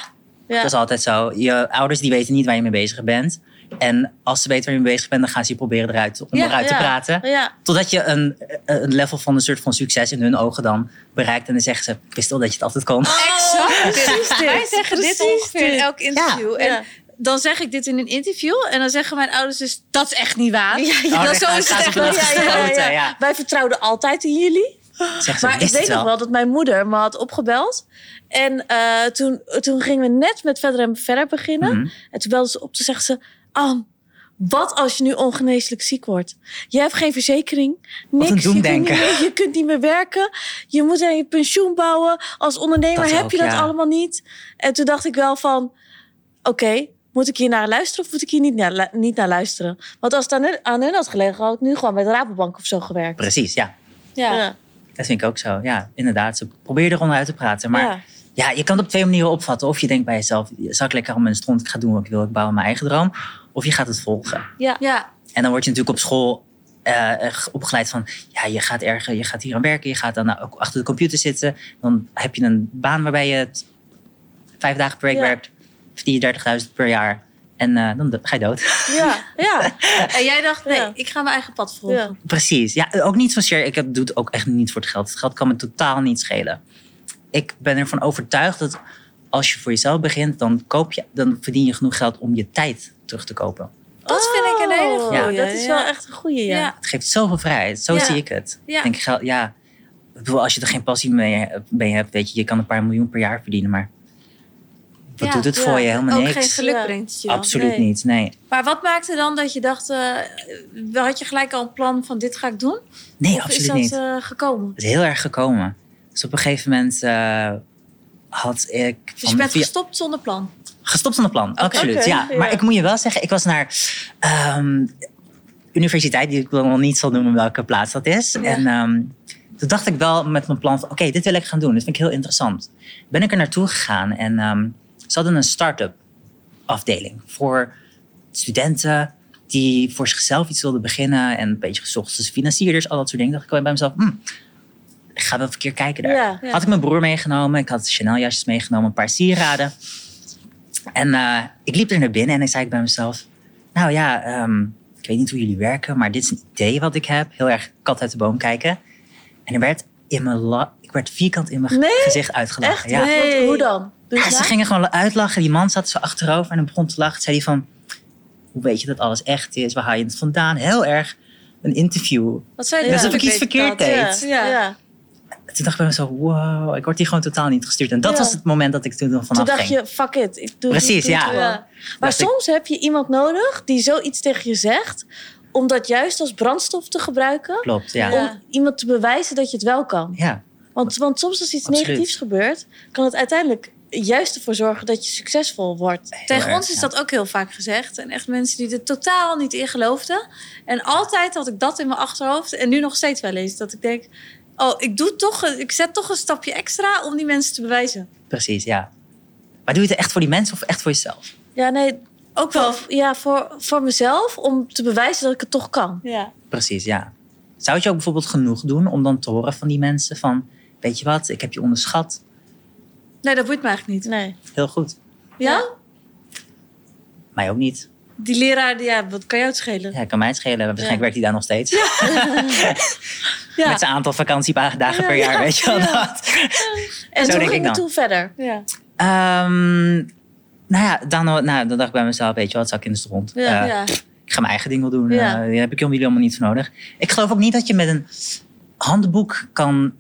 B: Ja.
C: Dat is altijd zo. Je ouders die weten niet waar je mee bezig bent. En als ze weten waar je mee bezig bent, dan gaan ze je proberen eruit, om
A: Ja,
C: eruit
B: ja.
C: te praten.
B: Ja.
C: Totdat je een, een level van een soort van succes in hun ogen dan bereikt. En dan zeggen ze, ik wist al dat je het altijd kon.
A: Exact. Wij zeggen
B: Precies
A: dit ongeveer in
B: dit.
A: elk interview. En
B: Ja.
A: dan zeg ik dit in een interview. En dan zeggen mijn ouders dus, dat is echt niet waar. Ja,
C: Oh,
A: dat zo
C: dan gaan-
A: is
C: gaan
A: het
C: ze
A: echt
C: op de
A: niet.
C: lach stoten, ja.
B: Wij vertrouwden altijd in jullie.
C: Zeggen ze,
B: Maar ik
C: wist
B: weet
C: het
B: nog wel dat mijn moeder me had opgebeld. En eh, toen, toen gingen we net met verder en verder beginnen.
C: Mhm.
B: En toen belde ze op, toen zegt ze... Ann, wat als je nu ongeneeslijk ziek wordt? Je hebt geen verzekering,
C: een
B: niks. je, kunt niet
C: doemdenker.
B: meer, je kunt niet meer werken. Je moet aan je pensioen bouwen. Als ondernemer
C: Dat
B: heb
C: ook,
B: je dat
C: ja.
B: allemaal niet. En toen dacht ik wel van... Oké, moet ik hier naar luisteren of moet ik hier niet naar, lu- niet naar luisteren? Want als het aan hun, aan hun had gelegen, had ik nu gewoon bij de Rabobank of zo gewerkt.
C: Precies, ja.
B: Ja.
C: Dat vind ik ook zo. Ja, inderdaad. Ze probeer eronder uit te praten. Maar ja. je kan het op twee manieren opvatten. Of je denkt bij jezelf, zal ik lekker om mijn stront, ik ga doen wat ik wil, ik bouw mijn eigen droom. Of je gaat het volgen.
B: Ja.
A: Ja,
C: En dan word je natuurlijk op school eh, eh, opgeleid van, ja, je gaat erger, je gaat hier aan werken, je gaat dan nou ook achter de computer zitten. Dan heb je een baan waarbij je het vijf dagen per week
B: Ja.
C: werkt, verdien je 30.000 per jaar. En eh, dan do- ga je dood.
B: ja, ja.
A: en jij dacht, nee,
B: Ja.
A: ik ga mijn eigen pad volgen.
B: Ja.
C: Precies. Ja, ook niet zozeer. Ik heb- doe het ook echt niet voor het geld. Het geld kan me totaal niet schelen. Ik ben ervan overtuigd dat als je voor jezelf begint, dan, koop je, dan verdien je genoeg geld om je tijd terug te kopen.
A: Dat vind ik een hele
B: Oh,
A: goeie.
B: Dat is wel echt een goeie, ja.
A: Ja.
C: Het geeft zoveel vrijheid. Zo
A: Ja.
C: zie ik het.
A: Ja.
C: Ik Denk, geld, ja, ik bedoel, als je er geen passie mee, mee hebt, weet je, je kan een paar miljoen per jaar verdienen, maar wat
A: Ja,
C: doet het
B: ja.
C: voor je? Helemaal
A: Ook
C: niks.
A: geen geluk
B: Ja.
A: brengt het je dan.
C: Absoluut
B: nee.
C: niet. Nee.
A: Maar wat maakte dan dat je dacht, eh, had je gelijk al een plan van dit ga ik doen?
C: Nee,
A: of is
C: absoluut
A: dat
C: niet.
A: eh, gekomen?
C: Het is heel erg gekomen. Dus op een gegeven moment eh, had ik.
A: Dus je
C: van-
A: bent
C: via-
A: gestopt zonder plan?
C: Gestopt zonder plan, absoluut.
B: Oké,
C: ja.
B: ja.
C: Maar ik moet je wel zeggen, ik was naar ehm, universiteit, die ik wel nog niet zal noemen welke plaats dat is. En ehm, toen dacht ik wel met mijn plan van, oké, dit wil ik gaan doen. Dit vind ik heel interessant. Ben ik er naartoe gegaan en ehm, ze hadden een start-up afdeling voor studenten die voor zichzelf iets wilden beginnen en een beetje gezocht tussen financierders, al dat soort dingen. Dacht ik wel bij mezelf, hm, ik ga wel even een keer kijken daar.
B: Ja,
A: ja.
C: Had ik mijn broer meegenomen, ik had Chanel jasjes meegenomen, een paar sieraden. En eh, ik liep er naar binnen en ik zei bij mezelf, nou ja, ehm, ik weet niet hoe jullie werken, maar dit is een idee wat ik heb. Heel erg kat uit de boom kijken. En er werd in mijn la- ik werd vierkant in mijn ge-
B: Nee?
C: gezicht uitgelachen.
B: Echt?
C: ja.
B: Want hoe dan? Dus
C: Ja, ze
B: ja?
C: gingen gewoon uitlachen. Die man zat zo achterover en dan begon te lachen. Zei hij van, hoe weet je dat alles echt is? Waar haal je het vandaan? Heel erg een interview.
A: Wat zei je?
B: Ja.
C: Alsof ik iets verkeerd deed.
B: Ja.
A: Ja.
C: Toen dacht ik bij mezelf, wow, ik word hier gewoon totaal niet gestuurd. En dat
B: Ja.
C: was het moment dat ik toen vanaf
B: Toen dacht
C: ging.
B: je, fuck it. Ik doe
C: Precies,
B: ik doe het
C: ja.
B: gewoon.
C: Ja.
B: Maar
C: Dacht ik-
B: soms heb je iemand nodig die zoiets tegen je zegt... om dat juist als brandstof te gebruiken...
C: Klopt, ja.
A: Ja.
C: Ja,
B: om iemand te bewijzen dat je het wel kan. Want, want soms als iets
C: Absoluut.
B: negatiefs gebeurt... kan het uiteindelijk juist ervoor zorgen dat je succesvol wordt.
C: heel
A: Tegen
C: erg,
A: ons is
C: ja.
A: dat ook heel vaak gezegd. En echt mensen die er totaal niet in geloofden. En altijd had ik dat in mijn achterhoofd. En nu nog steeds wel eens. Dat ik denk, oh, ik, doe toch, een- ik zet toch een stapje extra om die mensen te bewijzen.
C: Precies, ja. Maar doe je het echt voor die mensen of echt voor jezelf?
B: Ja, nee,
A: Ook wel.
B: voor, ja, voor, voor mezelf om te bewijzen dat ik het toch kan.
A: Ja.
C: Precies, ja. Zou het je ook bijvoorbeeld genoeg doen om dan te horen van die mensen van... Weet je wat, ik heb je onderschat.
A: Nee, dat boeit me eigenlijk niet.
B: Nee.
C: Heel goed.
A: Ja?
C: Mij ook niet.
A: Die leraar, die- ja, wat kan jou het schelen?
C: Ja, kan mij het schelen. Waarschijnlijk werkt hij daar nog steeds.
A: Ja.
C: Met zijn aantal vakantiedagen per jaar, weet je wel dat.
B: En
C: Zo
B: toen
C: denk ik
B: ging het
C: dan.
B: toen verder.
A: Ja.
C: Ehm, nou ja, dan, nou, dan dacht ik bij mezelf, weet je wat, zak in de stront.
B: Ja,
C: Eh,
A: ja.
C: Ik ga mijn eigen ding wel doen. Eh
B: Ja.
C: daar heb ik jullie allemaal niet voor nodig. Ik geloof ook niet dat je met een handboek kan...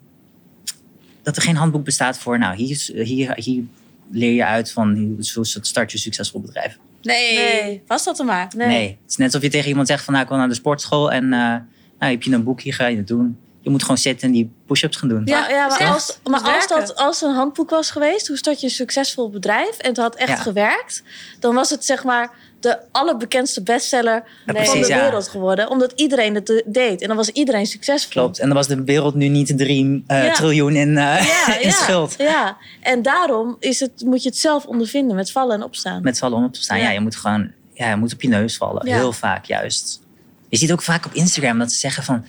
C: Dat er geen handboek bestaat voor, nou, hier, is- hier, hier leer je uit van hoe start je een succesvol bedrijf.
A: Nee.
B: Nee.
A: was dat er maar.
B: Nee.
C: Het is net alsof je tegen iemand zegt van, nou, ik wil naar de sportschool en eh, nou, heb je een boek, hier ga je het doen. Je moet gewoon zitten en die push-ups gaan doen.
B: Ja, ja maar,
A: echt
B: als, maar
A: moet
B: als dat
A: werken.
B: als een handboek was geweest, hoe start je een succesvol bedrijf en het had echt
C: Ja.
B: gewerkt, dan was het zeg maar de allerbekendste bestseller van de
C: precies, ja.
B: wereld geworden, omdat iedereen het eh, deed en dan was iedereen succesvol.
C: Klopt. En dan was de wereld nu niet 3 eh
B: Ja.
C: triljoen in, eh,
B: Ja,
C: in
B: ja,
C: schuld.
B: Ja, en daarom is het, moet je het zelf ondervinden met vallen en opstaan.
C: Met vallen om op te staan. Ja,
A: Ja.
C: je moet gewoon ja, je moet op je neus vallen.
B: Ja.
C: Heel vaak juist. Je ziet ook vaak op Instagram dat ze zeggen van...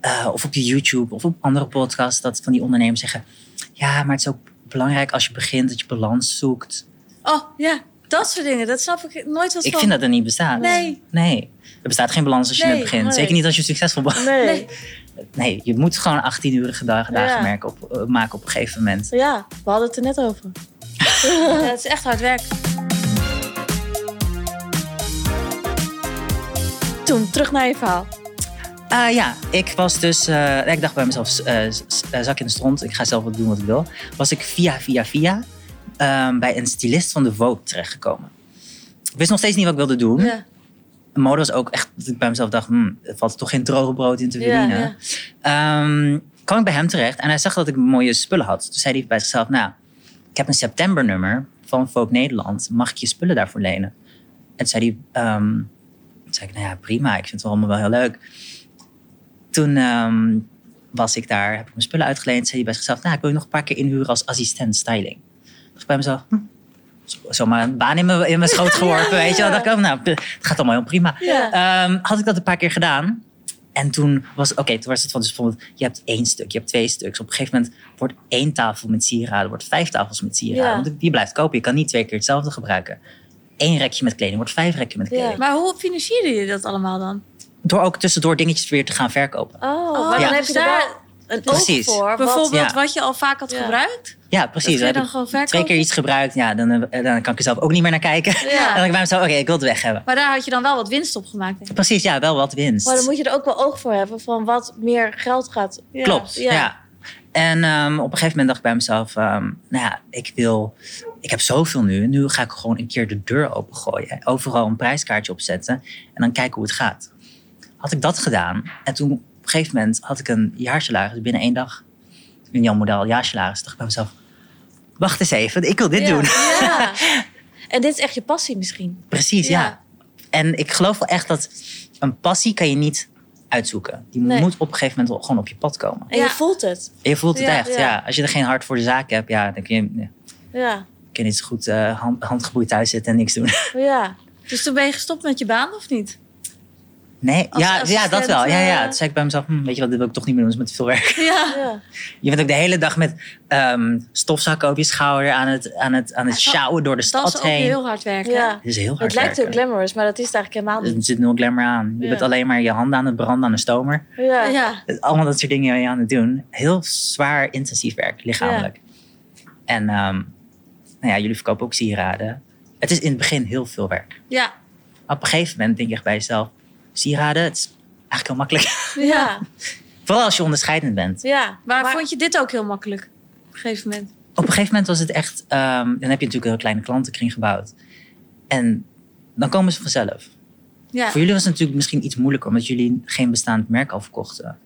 C: eh, of op je YouTube of op andere podcasts... dat van die ondernemers zeggen... Ja, maar het is ook belangrijk als je begint dat je balans zoekt.
A: Oh, ja. Dat soort dingen. Dat snap ik nooit wat
C: Ik
A: van.
C: vind dat er niet bestaat.
A: Nee.
C: Nee. Er bestaat geen balans als je
A: Nee,
C: net begint.
B: nee.
C: Zeker niet als je succesvol bent.
B: Nee.
A: Nee.
C: Nee, je moet gewoon 18-urige dagen, dagen
B: Ja.
C: merken op, eh, maken op een gegeven moment.
B: Ja, we hadden het er net over.
A: Ja, het is echt hard werk.
B: Toen, terug naar je verhaal.
C: Ah ja, ik was dus. eh, ik dacht bij mezelf: eh, s- s- eh, zak in de stront, ik ga zelf wat doen wat ik wil. Was ik via, via, via ehm, bij een stylist van de Vogue terechtgekomen. Ik wist nog steeds niet wat ik wilde doen.
A: Ja.
C: Mode was ook echt dat ik bij mezelf dacht: hmm, er valt toch geen droge brood in te verdienen.
A: ja.
C: Ehm, kwam ik bij hem terecht en hij zag dat ik mooie spullen had. Toen zei hij bij zichzelf: Nou, ik heb een septembernummer van Vogue Nederland. Mag ik je spullen daarvoor lenen? En toen zei hij: ehm, toen zei ik, Nou ja, prima. Ik vind het wel allemaal wel heel leuk. Toen ehm, was ik daar, heb ik mijn spullen uitgeleend. Zei hij bij zichzelf, nou, ik wil je nog een paar keer inhuren als assistent styling. Dacht ik bij mezelf, hm, zo- zomaar een baan in mijn, in mijn schoot geworpen, weet je wel. Dacht ik, oh, nou, p- het gaat allemaal heel prima. Ehm, had ik dat een paar keer gedaan. En toen was, oké, toen was het van, dus bijvoorbeeld, je hebt één stuk, je hebt twee stuks. Op een gegeven moment wordt één tafel met sieraden, wordt vijf tafels met sieraden.
B: Ja.
C: Want die blijft kopen, je kan niet twee keer hetzelfde gebruiken. Eén rekje met kleding wordt vijf rekken met kleding.
A: Maar hoe financieren jullie dat allemaal dan?
C: Door ook tussendoor dingetjes weer te gaan verkopen.
B: Oh, maar
C: ja.
B: dan heb je daar een oog
C: Precies.
B: voor. want-
A: Bijvoorbeeld
C: ja.
A: wat je al vaak had gebruikt?
C: Ja, precies.
A: Dat je
C: Dan
A: dan
C: heb ik
A: gewoon
C: twee
A: verkoopt?
C: keer iets gebruikt. Ja, dan, eh, dan kan ik er zelf ook niet meer naar kijken. En dan denk ik bij mezelf, oké, ik wil het weg hebben.
A: Maar daar had je dan wel wat winst op gemaakt, denk ik.
C: Precies, ja, wel wat winst.
B: Maar dan moet je er ook wel oog voor hebben van wat meer geld gaat.
C: Klopt, ja. En ehm, op een gegeven moment dacht ik bij mezelf, ehm, nou ja, ik wil, ik heb zoveel nu. Nu ga ik gewoon een keer de deur opengooien. Overal een prijskaartje opzetten en dan kijken hoe het gaat. Had ik dat gedaan en toen op een gegeven moment had ik een jaarsalaris binnen één dag. Een Jan Model jaarsalaris. Dacht ik bij mezelf, wacht eens even, ik wil dit doen.
B: Ja. En dit is echt je passie misschien.
C: Precies, ja.
B: Ja.
C: En ik geloof wel echt dat een passie kan je niet uitzoeken. Die
B: Nee.
C: moet op een gegeven moment gewoon op je pad komen.
B: En je voelt het.
C: Je voelt het
B: Ja,
C: echt,
B: ja.
C: ja. Als je er geen hart voor de zaak hebt, ja, dan kun je, nee,
B: Ja.
C: kun je niet zo goed eh, hand, handgeboeid thuis zitten en niks doen.
B: ja.
A: Dus toen ben je gestopt met je baan, of niet?
C: Nee,
A: Als
C: ja, ja, dat
A: assistent,
C: wel. Ja, ja.
A: eh,
C: Toen zei ik bij mezelf, hm, weet je wat, dit wil ik toch niet meer doen, is met veel werk.
A: Ja.
B: ja.
C: Je bent ook de hele dag met ehm stofzakken op je schouder aan het, aan het, aan het sjouwen door de
A: Dat Dus is
C: stad
A: ook
C: heen.
A: heel hard werken.
B: ja.
C: Het is heel hard
B: Het lijkt heel
C: werken.
B: glamorous, maar dat is het eigenlijk helemaal niet.
C: Er zit nul glamour aan. Je
B: Ja.
C: bent alleen maar je handen aan het branden aan een stomer.
B: Ja.
A: Ja.
C: allemaal dat soort dingen ben je aan het doen. Heel zwaar intensief werk, lichamelijk. En ehm, nou ja, jullie verkopen ook sieraden. Het is in het begin heel veel werk.
A: Ja.
C: Maar op een gegeven moment denk je echt bij jezelf... sieraden, het is eigenlijk heel makkelijk.
B: Ja.
C: Vooral als je onderscheidend bent.
B: Ja.
A: Maar, vond je dit ook heel makkelijk? Op een gegeven moment.
C: Op een gegeven moment was het echt... ehm, dan heb je natuurlijk een heel kleine klantenkring gebouwd. En dan komen ze vanzelf.
A: Ja.
C: Voor jullie was het natuurlijk misschien iets moeilijker... omdat jullie geen bestaand merk al verkochten.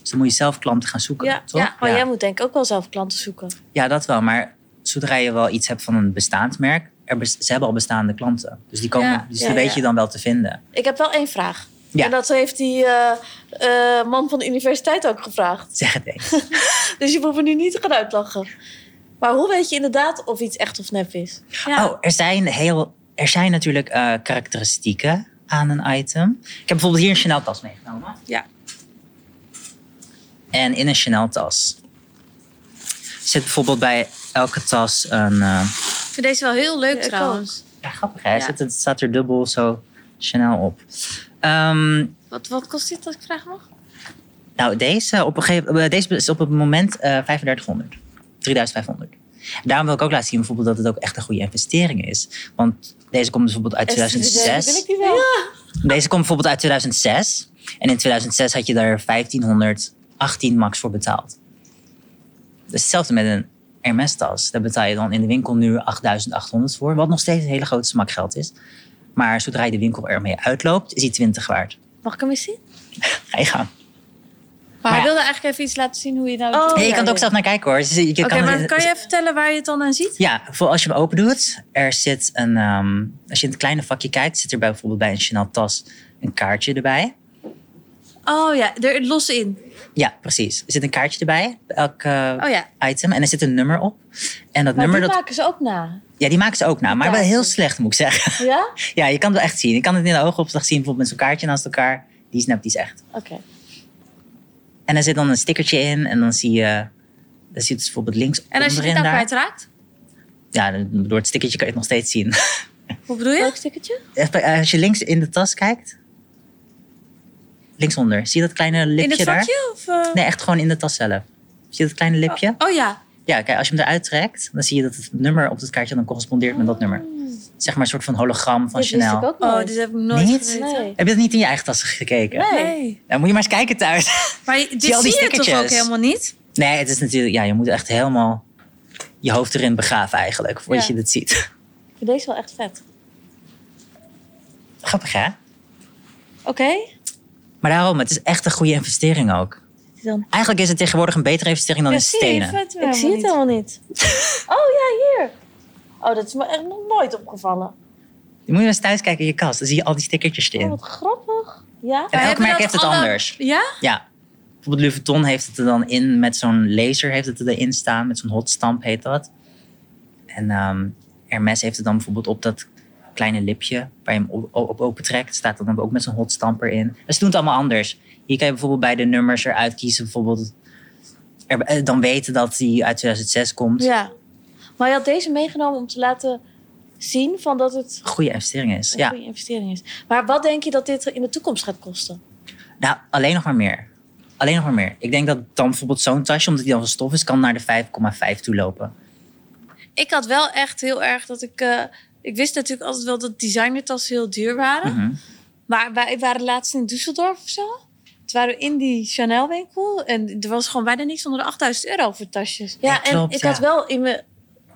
C: Dus dan moet je zelf klanten gaan zoeken,
B: Ja.
C: toch?
B: ja. Maar jij moet denk ik ook wel zelf klanten zoeken.
C: Ja, dat wel. Maar zodra je wel iets hebt van een bestaand merk, er bes- ze hebben al bestaande klanten. Dus die, komen,
A: Ja,
C: dus
B: ja,
C: die weet
B: ja.
C: je dan wel te vinden.
B: Ik heb wel één vraag.
C: Ja.
B: En dat heeft die eh, eh, man van de universiteit ook gevraagd.
C: Zeg het eens.
B: Dus je moet me nu niet gaan uitlachen. Maar hoe weet je inderdaad of iets echt of nep is?
A: Nou.
C: Oh, er zijn, heel, er zijn natuurlijk eh, karakteristieken aan een item. Ik heb bijvoorbeeld hier een Chanel-tas meegenomen.
A: Ja.
C: En in een Chanel-tas zit bijvoorbeeld bij elke tas een... eh,
A: Ik vind deze wel heel leuk
B: ik
A: trouwens.
C: ja, grappig hè?
A: Ja.
C: Zit, het staat er dubbel zo Chanel op. Ehm,
A: Wat, wat kost dit dat ik vraag mag?
C: Nou, deze, op een gegeven, eh, deze is op het moment eh 3500. 3500. Daarom wil ik ook laten zien bijvoorbeeld dat het ook echt een goede investering is. Want deze komt bijvoorbeeld uit
B: Wil
C: 2006.
B: ik die wel?
C: Deze komt bijvoorbeeld uit 2006. En in 2006 had je daar 1518 max voor betaald. Dus hetzelfde met een Hermes-tas. Daar betaal je dan in de winkel nu 8800 voor. Wat nog steeds een hele grote smak geld is. Maar zodra je de winkel ermee uitloopt, is die 20 waard.
B: Mag ik hem eens zien?
C: Ga je gang.
A: Maar
C: ja.
A: hij wilde eigenlijk even iets laten zien hoe je nou...
B: Oh,
A: Oké,
C: Nee, je
B: ja,
C: kan het ook
B: ja.
C: zelf naar kijken hoor. Dus je kan het-
A: maar kan je even vertellen waar je het dan aan ziet?
C: Ja, voor als je hem open doet, er zit een. ehm, als je in het kleine vakje kijkt, zit er bij- bijvoorbeeld bij een Chanel tas een kaartje erbij.
A: Oh ja, er los in.
C: Ja, precies. Er zit een kaartje erbij, bij elk eh,
A: Oh ja.
C: item. En er zit een nummer op. En dat
B: Maar
C: nummer,
B: die
C: dat,
B: maken ze ook na.
C: ja, die maken ze ook na, maar wel heel
B: kaartjes.
C: slecht moet ik zeggen.
B: Ja?
C: ja, je kan het wel echt zien. Je kan het in de oogopslag zien, bijvoorbeeld met zo'n kaartje naast elkaar. Die snapt die is echt.
B: Oké.
C: En er zit dan een stickertje in en dan zie je. Dan zit dus bijvoorbeeld links
A: En als je dit
C: onderin
A: nou
C: daar.
A: kwijtraakt?
C: Ja, door het stickertje kan je het nog steeds zien.
A: Hoe bedoel je?
B: Leuk stukje?
C: Even, eh, Als je links in de tas kijkt. Linksonder. Zie je dat kleine lipje
A: In het
C: daar?
A: vakje? Of, eh?
C: Nee, echt gewoon in de tas zelf. Zie je dat kleine lipje?
A: Oh ja.
C: Ja, kijk, als je hem eruit trekt, dan zie je dat het nummer op het kaartje dan correspondeert met dat nummer. Zeg maar een soort van hologram van
B: Dit wist ik
C: Chanel.
B: ook
A: Oh,
B: nooit.
A: dit heb ik nooit
C: Niet?
A: geweten.
B: Nee.
C: Heb je dat niet in je eigen tas gekeken?
B: Nee.
C: Dan moet je maar eens kijken thuis.
A: Maar je- dit
C: Zie je al die
A: zie, je toch ook
C: stickertjes?
A: helemaal niet?
C: Nee, het is natuurlijk, ja, je moet echt helemaal je hoofd erin begraven eigenlijk, voordat
B: Ja.
C: je dit ziet.
B: Ik vind deze wel echt vet.
C: Grappig hè?
B: Oké.
C: Maar daarom, het is echt een goede investering ook.
B: Dan.
C: Eigenlijk is het tegenwoordig een betere investering dan in stenen.
B: Ik zie het helemaal niet. Oh ja, hier. Oh, dat is me echt nog nooit opgevallen.
C: Je moet je eens thuis kijken in je kast. Dan zie je al die stickertjes
B: Oh,
C: erin.
B: wat grappig. Ja?
C: En elk merk heeft het
A: alle-
C: anders.
A: Ja?
C: Ja. Bijvoorbeeld Louis Vuitton heeft het er dan in met zo'n laser heeft het erin staan. Met zo'n hot stamp heet dat. En ehm Hermes heeft het dan bijvoorbeeld op dat kleine lipje waar je hem op, op open trekt. Staat dat dan ook met zo'n hot stamp erin. En ze doen het allemaal anders. Hier kan je bijvoorbeeld bij de nummers eruit kiezen. Bijvoorbeeld er- eh, dan weten dat die uit 2006 komt.
B: Ja. Maar je had deze meegenomen om te laten zien van dat het
C: Goede investering is.
B: een
C: Ja.
B: goede investering is. Maar wat denk je dat dit in de toekomst gaat kosten?
C: Nou, alleen nog maar meer. Alleen nog maar meer. Ik denk dat dan bijvoorbeeld zo'n tasje, omdat die dan van stof is, kan naar de 5,5 toe lopen.
A: Ik had wel echt heel erg dat ik... eh, ik wist natuurlijk altijd wel dat designertassen heel duur waren.
C: Mhm.
A: Maar wij waren laatst in Düsseldorf of zo. Toen waren we in die Chanel winkel. En er was gewoon bijna niks onder de 8000 euro voor tasjes.
B: Ja,
C: Ja,
B: en
C: klopt,
B: ik
C: ja.
B: had wel in mijn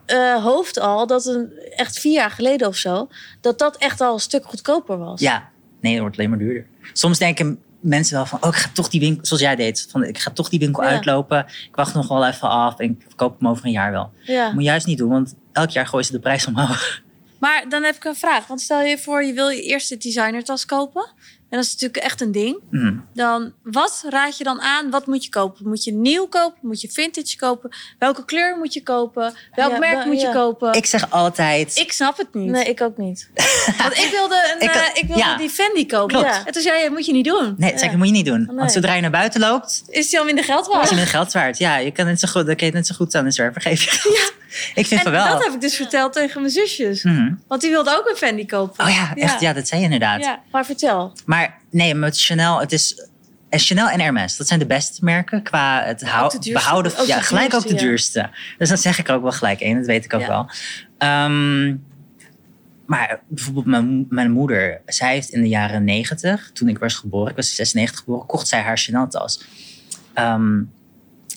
B: eh, hoofd al dat een, echt vier jaar geleden of zo, dat dat echt al een stuk goedkoper was.
C: Ja, nee, het wordt alleen maar duurder. Soms denken mensen wel van, oh, ik ga toch die winkel, zoals jij deed, van, ik ga toch die winkel
B: Ja.
C: uitlopen. Ik wacht nog wel even af en ik koop hem over een jaar wel.
B: Ja.
C: Moet je juist niet doen, want elk jaar gooien ze de prijs omhoog.
A: Maar dan heb ik een vraag. Want stel je voor, je wil je eerste designertas kopen. En dat is natuurlijk echt een ding.
C: Mhm.
A: Dan, wat raad je dan aan? Wat moet je kopen? Moet je nieuw kopen? Moet je vintage kopen? Welke kleur moet je kopen? Welk
B: Ja,
A: merk
B: wel-
A: moet
B: ja.
A: je kopen? Ik,
C: Ik zeg altijd,
A: snap het niet.
B: Nee, ik ook niet.
A: Want ik wilde, een,
C: Ik
A: eh,
C: had-
A: ik wilde
C: ja.
A: die Fendi kopen.
C: Klopt.
A: En toen zei je, moet je niet doen.
C: nee, dat zeg ik, moet je niet doen.
B: Nee.
C: Want zodra je naar buiten loopt,
A: Is die al minder geld
C: is
A: waard?
C: je het geld waard. Ja, je kan het zo goed, dan kan je het net zo goed aan de zwerver geven. Ik vind
A: En
C: van wel.
A: dat heb ik dus verteld tegen mijn zusjes.
C: Mhm.
A: Want die wilde ook een Fendi kopen.
C: Oh ja, echt, ja. dat zei je inderdaad.
A: Ja.
B: Maar vertel.
C: Maar nee, met Chanel, het is eh, Chanel en Hermes. Dat zijn de beste merken qua het hou-
B: de duurste,
C: behouden.
B: ook de
C: ja, gelijk
B: duurste,
C: ook de
B: ja.
C: duurste. Dus dat zeg ik er ook wel gelijk één. Dat weet ik ook
B: Ja.
C: wel. Ehm, maar bijvoorbeeld mijn, mijn moeder, zij heeft in de jaren 90, toen ik was geboren, ik was in 96 geboren, kocht zij haar Chanel tas. Ehm,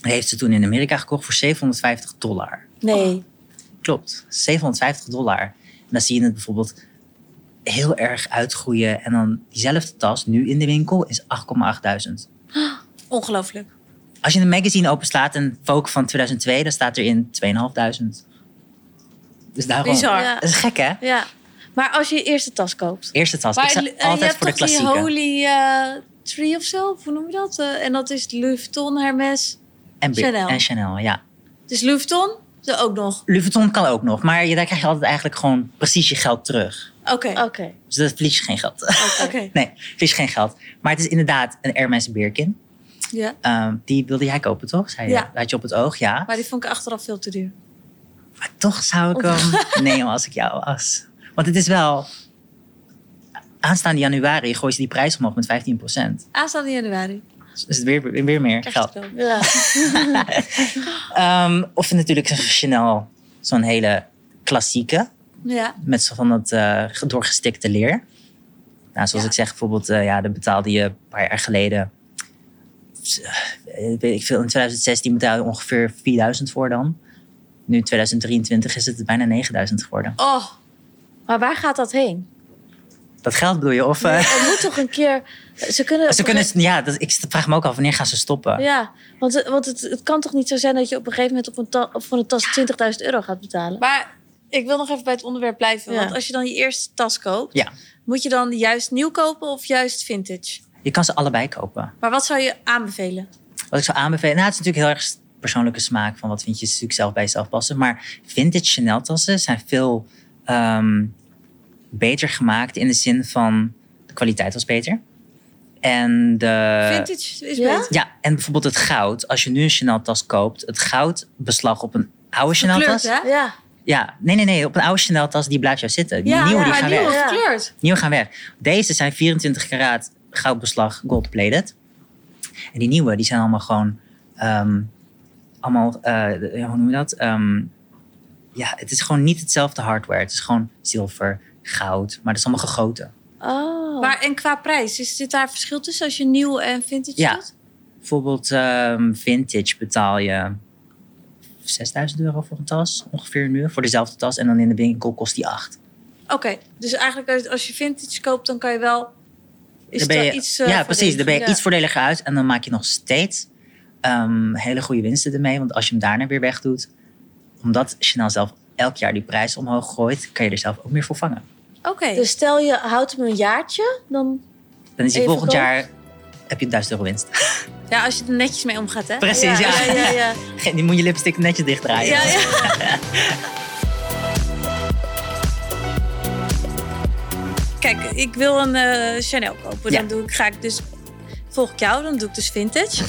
C: die heeft ze toen in Amerika gekocht voor 750 dollar.
B: Nee.
C: Klopt, 750 dollar. En dan zie je het bijvoorbeeld heel erg uitgroeien. En dan diezelfde tas nu in de winkel is 8,800.
A: Ongelooflijk.
C: Als je een magazine openslaat, een Vogue van 2002, dan staat erin 2500. Dus daarom.
A: Bizar.
B: Ja.
C: Dat is gek, hè?
B: Ja. Maar als je je eerste tas koopt.
C: Eerste tas. ik
A: Maar
C: sta
A: eh, je
C: altijd
A: hebt
C: voor de
A: toch die
C: klassieke.
A: Holy eh, Tree of zo? Of Hoe noem je dat? Eh, en dat is Louis Vuitton, Hermes.
C: en, Bri-
A: Chanel.
C: en Chanel, ja.
A: Dus Louis Vuitton, ze ook nog.
C: Louis Vuitton kan ook nog, maar je, daar krijg je altijd eigenlijk gewoon precies je geld terug.
A: Oké.
B: Oké.
C: Dus dat verlies je geen geld.
A: Oké.
C: nee, verlies je geen geld. Maar het is inderdaad een Hermes Birkin.
A: Ja.
C: Ehm, die wilde jij kopen, toch? Zei je?
A: Ja.
C: Had je op het oog, ja.
A: Maar die vond ik achteraf veel te duur.
C: Maar toch zou ik hem nemen als ik jou was. Want het is wel... Aanstaande januari gooi je die prijs omhoog met 15%.
A: Aanstaande januari.
C: Dus is het weer, weer meer geld.
B: Ja.
C: Ehm, of natuurlijk een Chanel, zo'n hele klassieke.
A: Ja.
C: Met zo van dat eh, doorgestikte leer. Nou, zoals ik zeg, bijvoorbeeld, eh, ja, dat betaalde je een paar jaar geleden. eh, weet ik veel, in 2016 betaalde je ongeveer 4000 voor dan. Nu in 2023 is het bijna 9000 geworden.
A: Oh,
B: Maar waar gaat dat heen?
C: Dat geld bedoel je? Of, eh,
B: Er moet toch een keer. Ze kunnen.
C: ze kunnen, ja, dat, ik vraag me ook af wanneer gaan ze stoppen.
B: Ja, want, het- want het, het kan toch niet zo zijn dat je op een gegeven moment op een ta- op- voor een tas 20.000 euro gaat betalen?
A: maar ik wil nog even bij het onderwerp blijven.
B: Ja.
A: Want als je dan je eerste tas koopt,
C: Ja.
A: moet je dan juist nieuw kopen of juist vintage?
C: Je kan ze allebei kopen.
A: Maar wat zou je aanbevelen?
C: Wat ik zou aanbevelen, nou, het is natuurlijk heel erg persoonlijke smaak van wat vind je is natuurlijk zelf bij jezelf passen. Maar vintage Chanel tassen zijn veel ehm, beter gemaakt in de zin van de kwaliteit was beter. En de,
A: vintage is
B: ja?
A: beter.
C: Ja, en bijvoorbeeld het goud. Als je nu een Chanel tas koopt, het goudbeslag op een oude Chanel
A: Gekleurd,
C: tas.
A: hè?
B: Ja,
C: Ja, nee, nee, nee. Op een oude Chanel tas die blijft jou zitten. Die
A: Ja,
C: nieuwe
A: ja,
C: die gaan
A: nieuwe
C: weg.
B: Ja.
A: gekleurd.
C: Nieuwe gaan weg. Deze zijn 24 karaat goudbeslag gold plated. En die nieuwe, die zijn allemaal gewoon... ehm, allemaal, eh, hoe noem je dat? Ehm, ja, het is gewoon niet hetzelfde hardware. Het is gewoon zilver, goud, maar dat is allemaal gegoten.
B: Oh.
A: Maar en qua prijs, is dit daar verschil tussen als je nieuw en vintage
C: Ja.
A: doet?
C: Bijvoorbeeld ehm, vintage betaal je 6000 euro voor een tas, ongeveer nu, voor dezelfde tas. En dan in de winkel kost die 8.
A: Oké, dus eigenlijk als- als je vintage koopt, dan kan je wel. Is
C: ben
A: er
C: je,
A: iets. eh,
C: ja,
A: voor
C: precies. Daar ben je
A: deze?
C: iets voordeliger uit. En dan maak je nog steeds ehm, hele goede winsten ermee. Want als je hem daarna weer wegdoet, omdat Chanel zelf elk jaar die prijs omhoog gooit, kan je er zelf ook meer voor vangen.
A: Oké,
B: Dus stel je houdt hem een jaartje, dan.
C: Dan is hij
B: Even
C: volgend
B: koop.
C: jaar, heb je 1000 euro winst.
A: Ja, als je er netjes mee omgaat, hè?
C: Precies, ja.
B: ja, ja, ja, ja.
C: Geen- Die moet je lipstick netjes dichtdraaien.
B: ja, ja.
A: Kijk, ik wil een eh, Chanel kopen.
C: Ja.
A: Dan doe ik, ga ik dus, volg ik jou, dan doe ik dus vintage.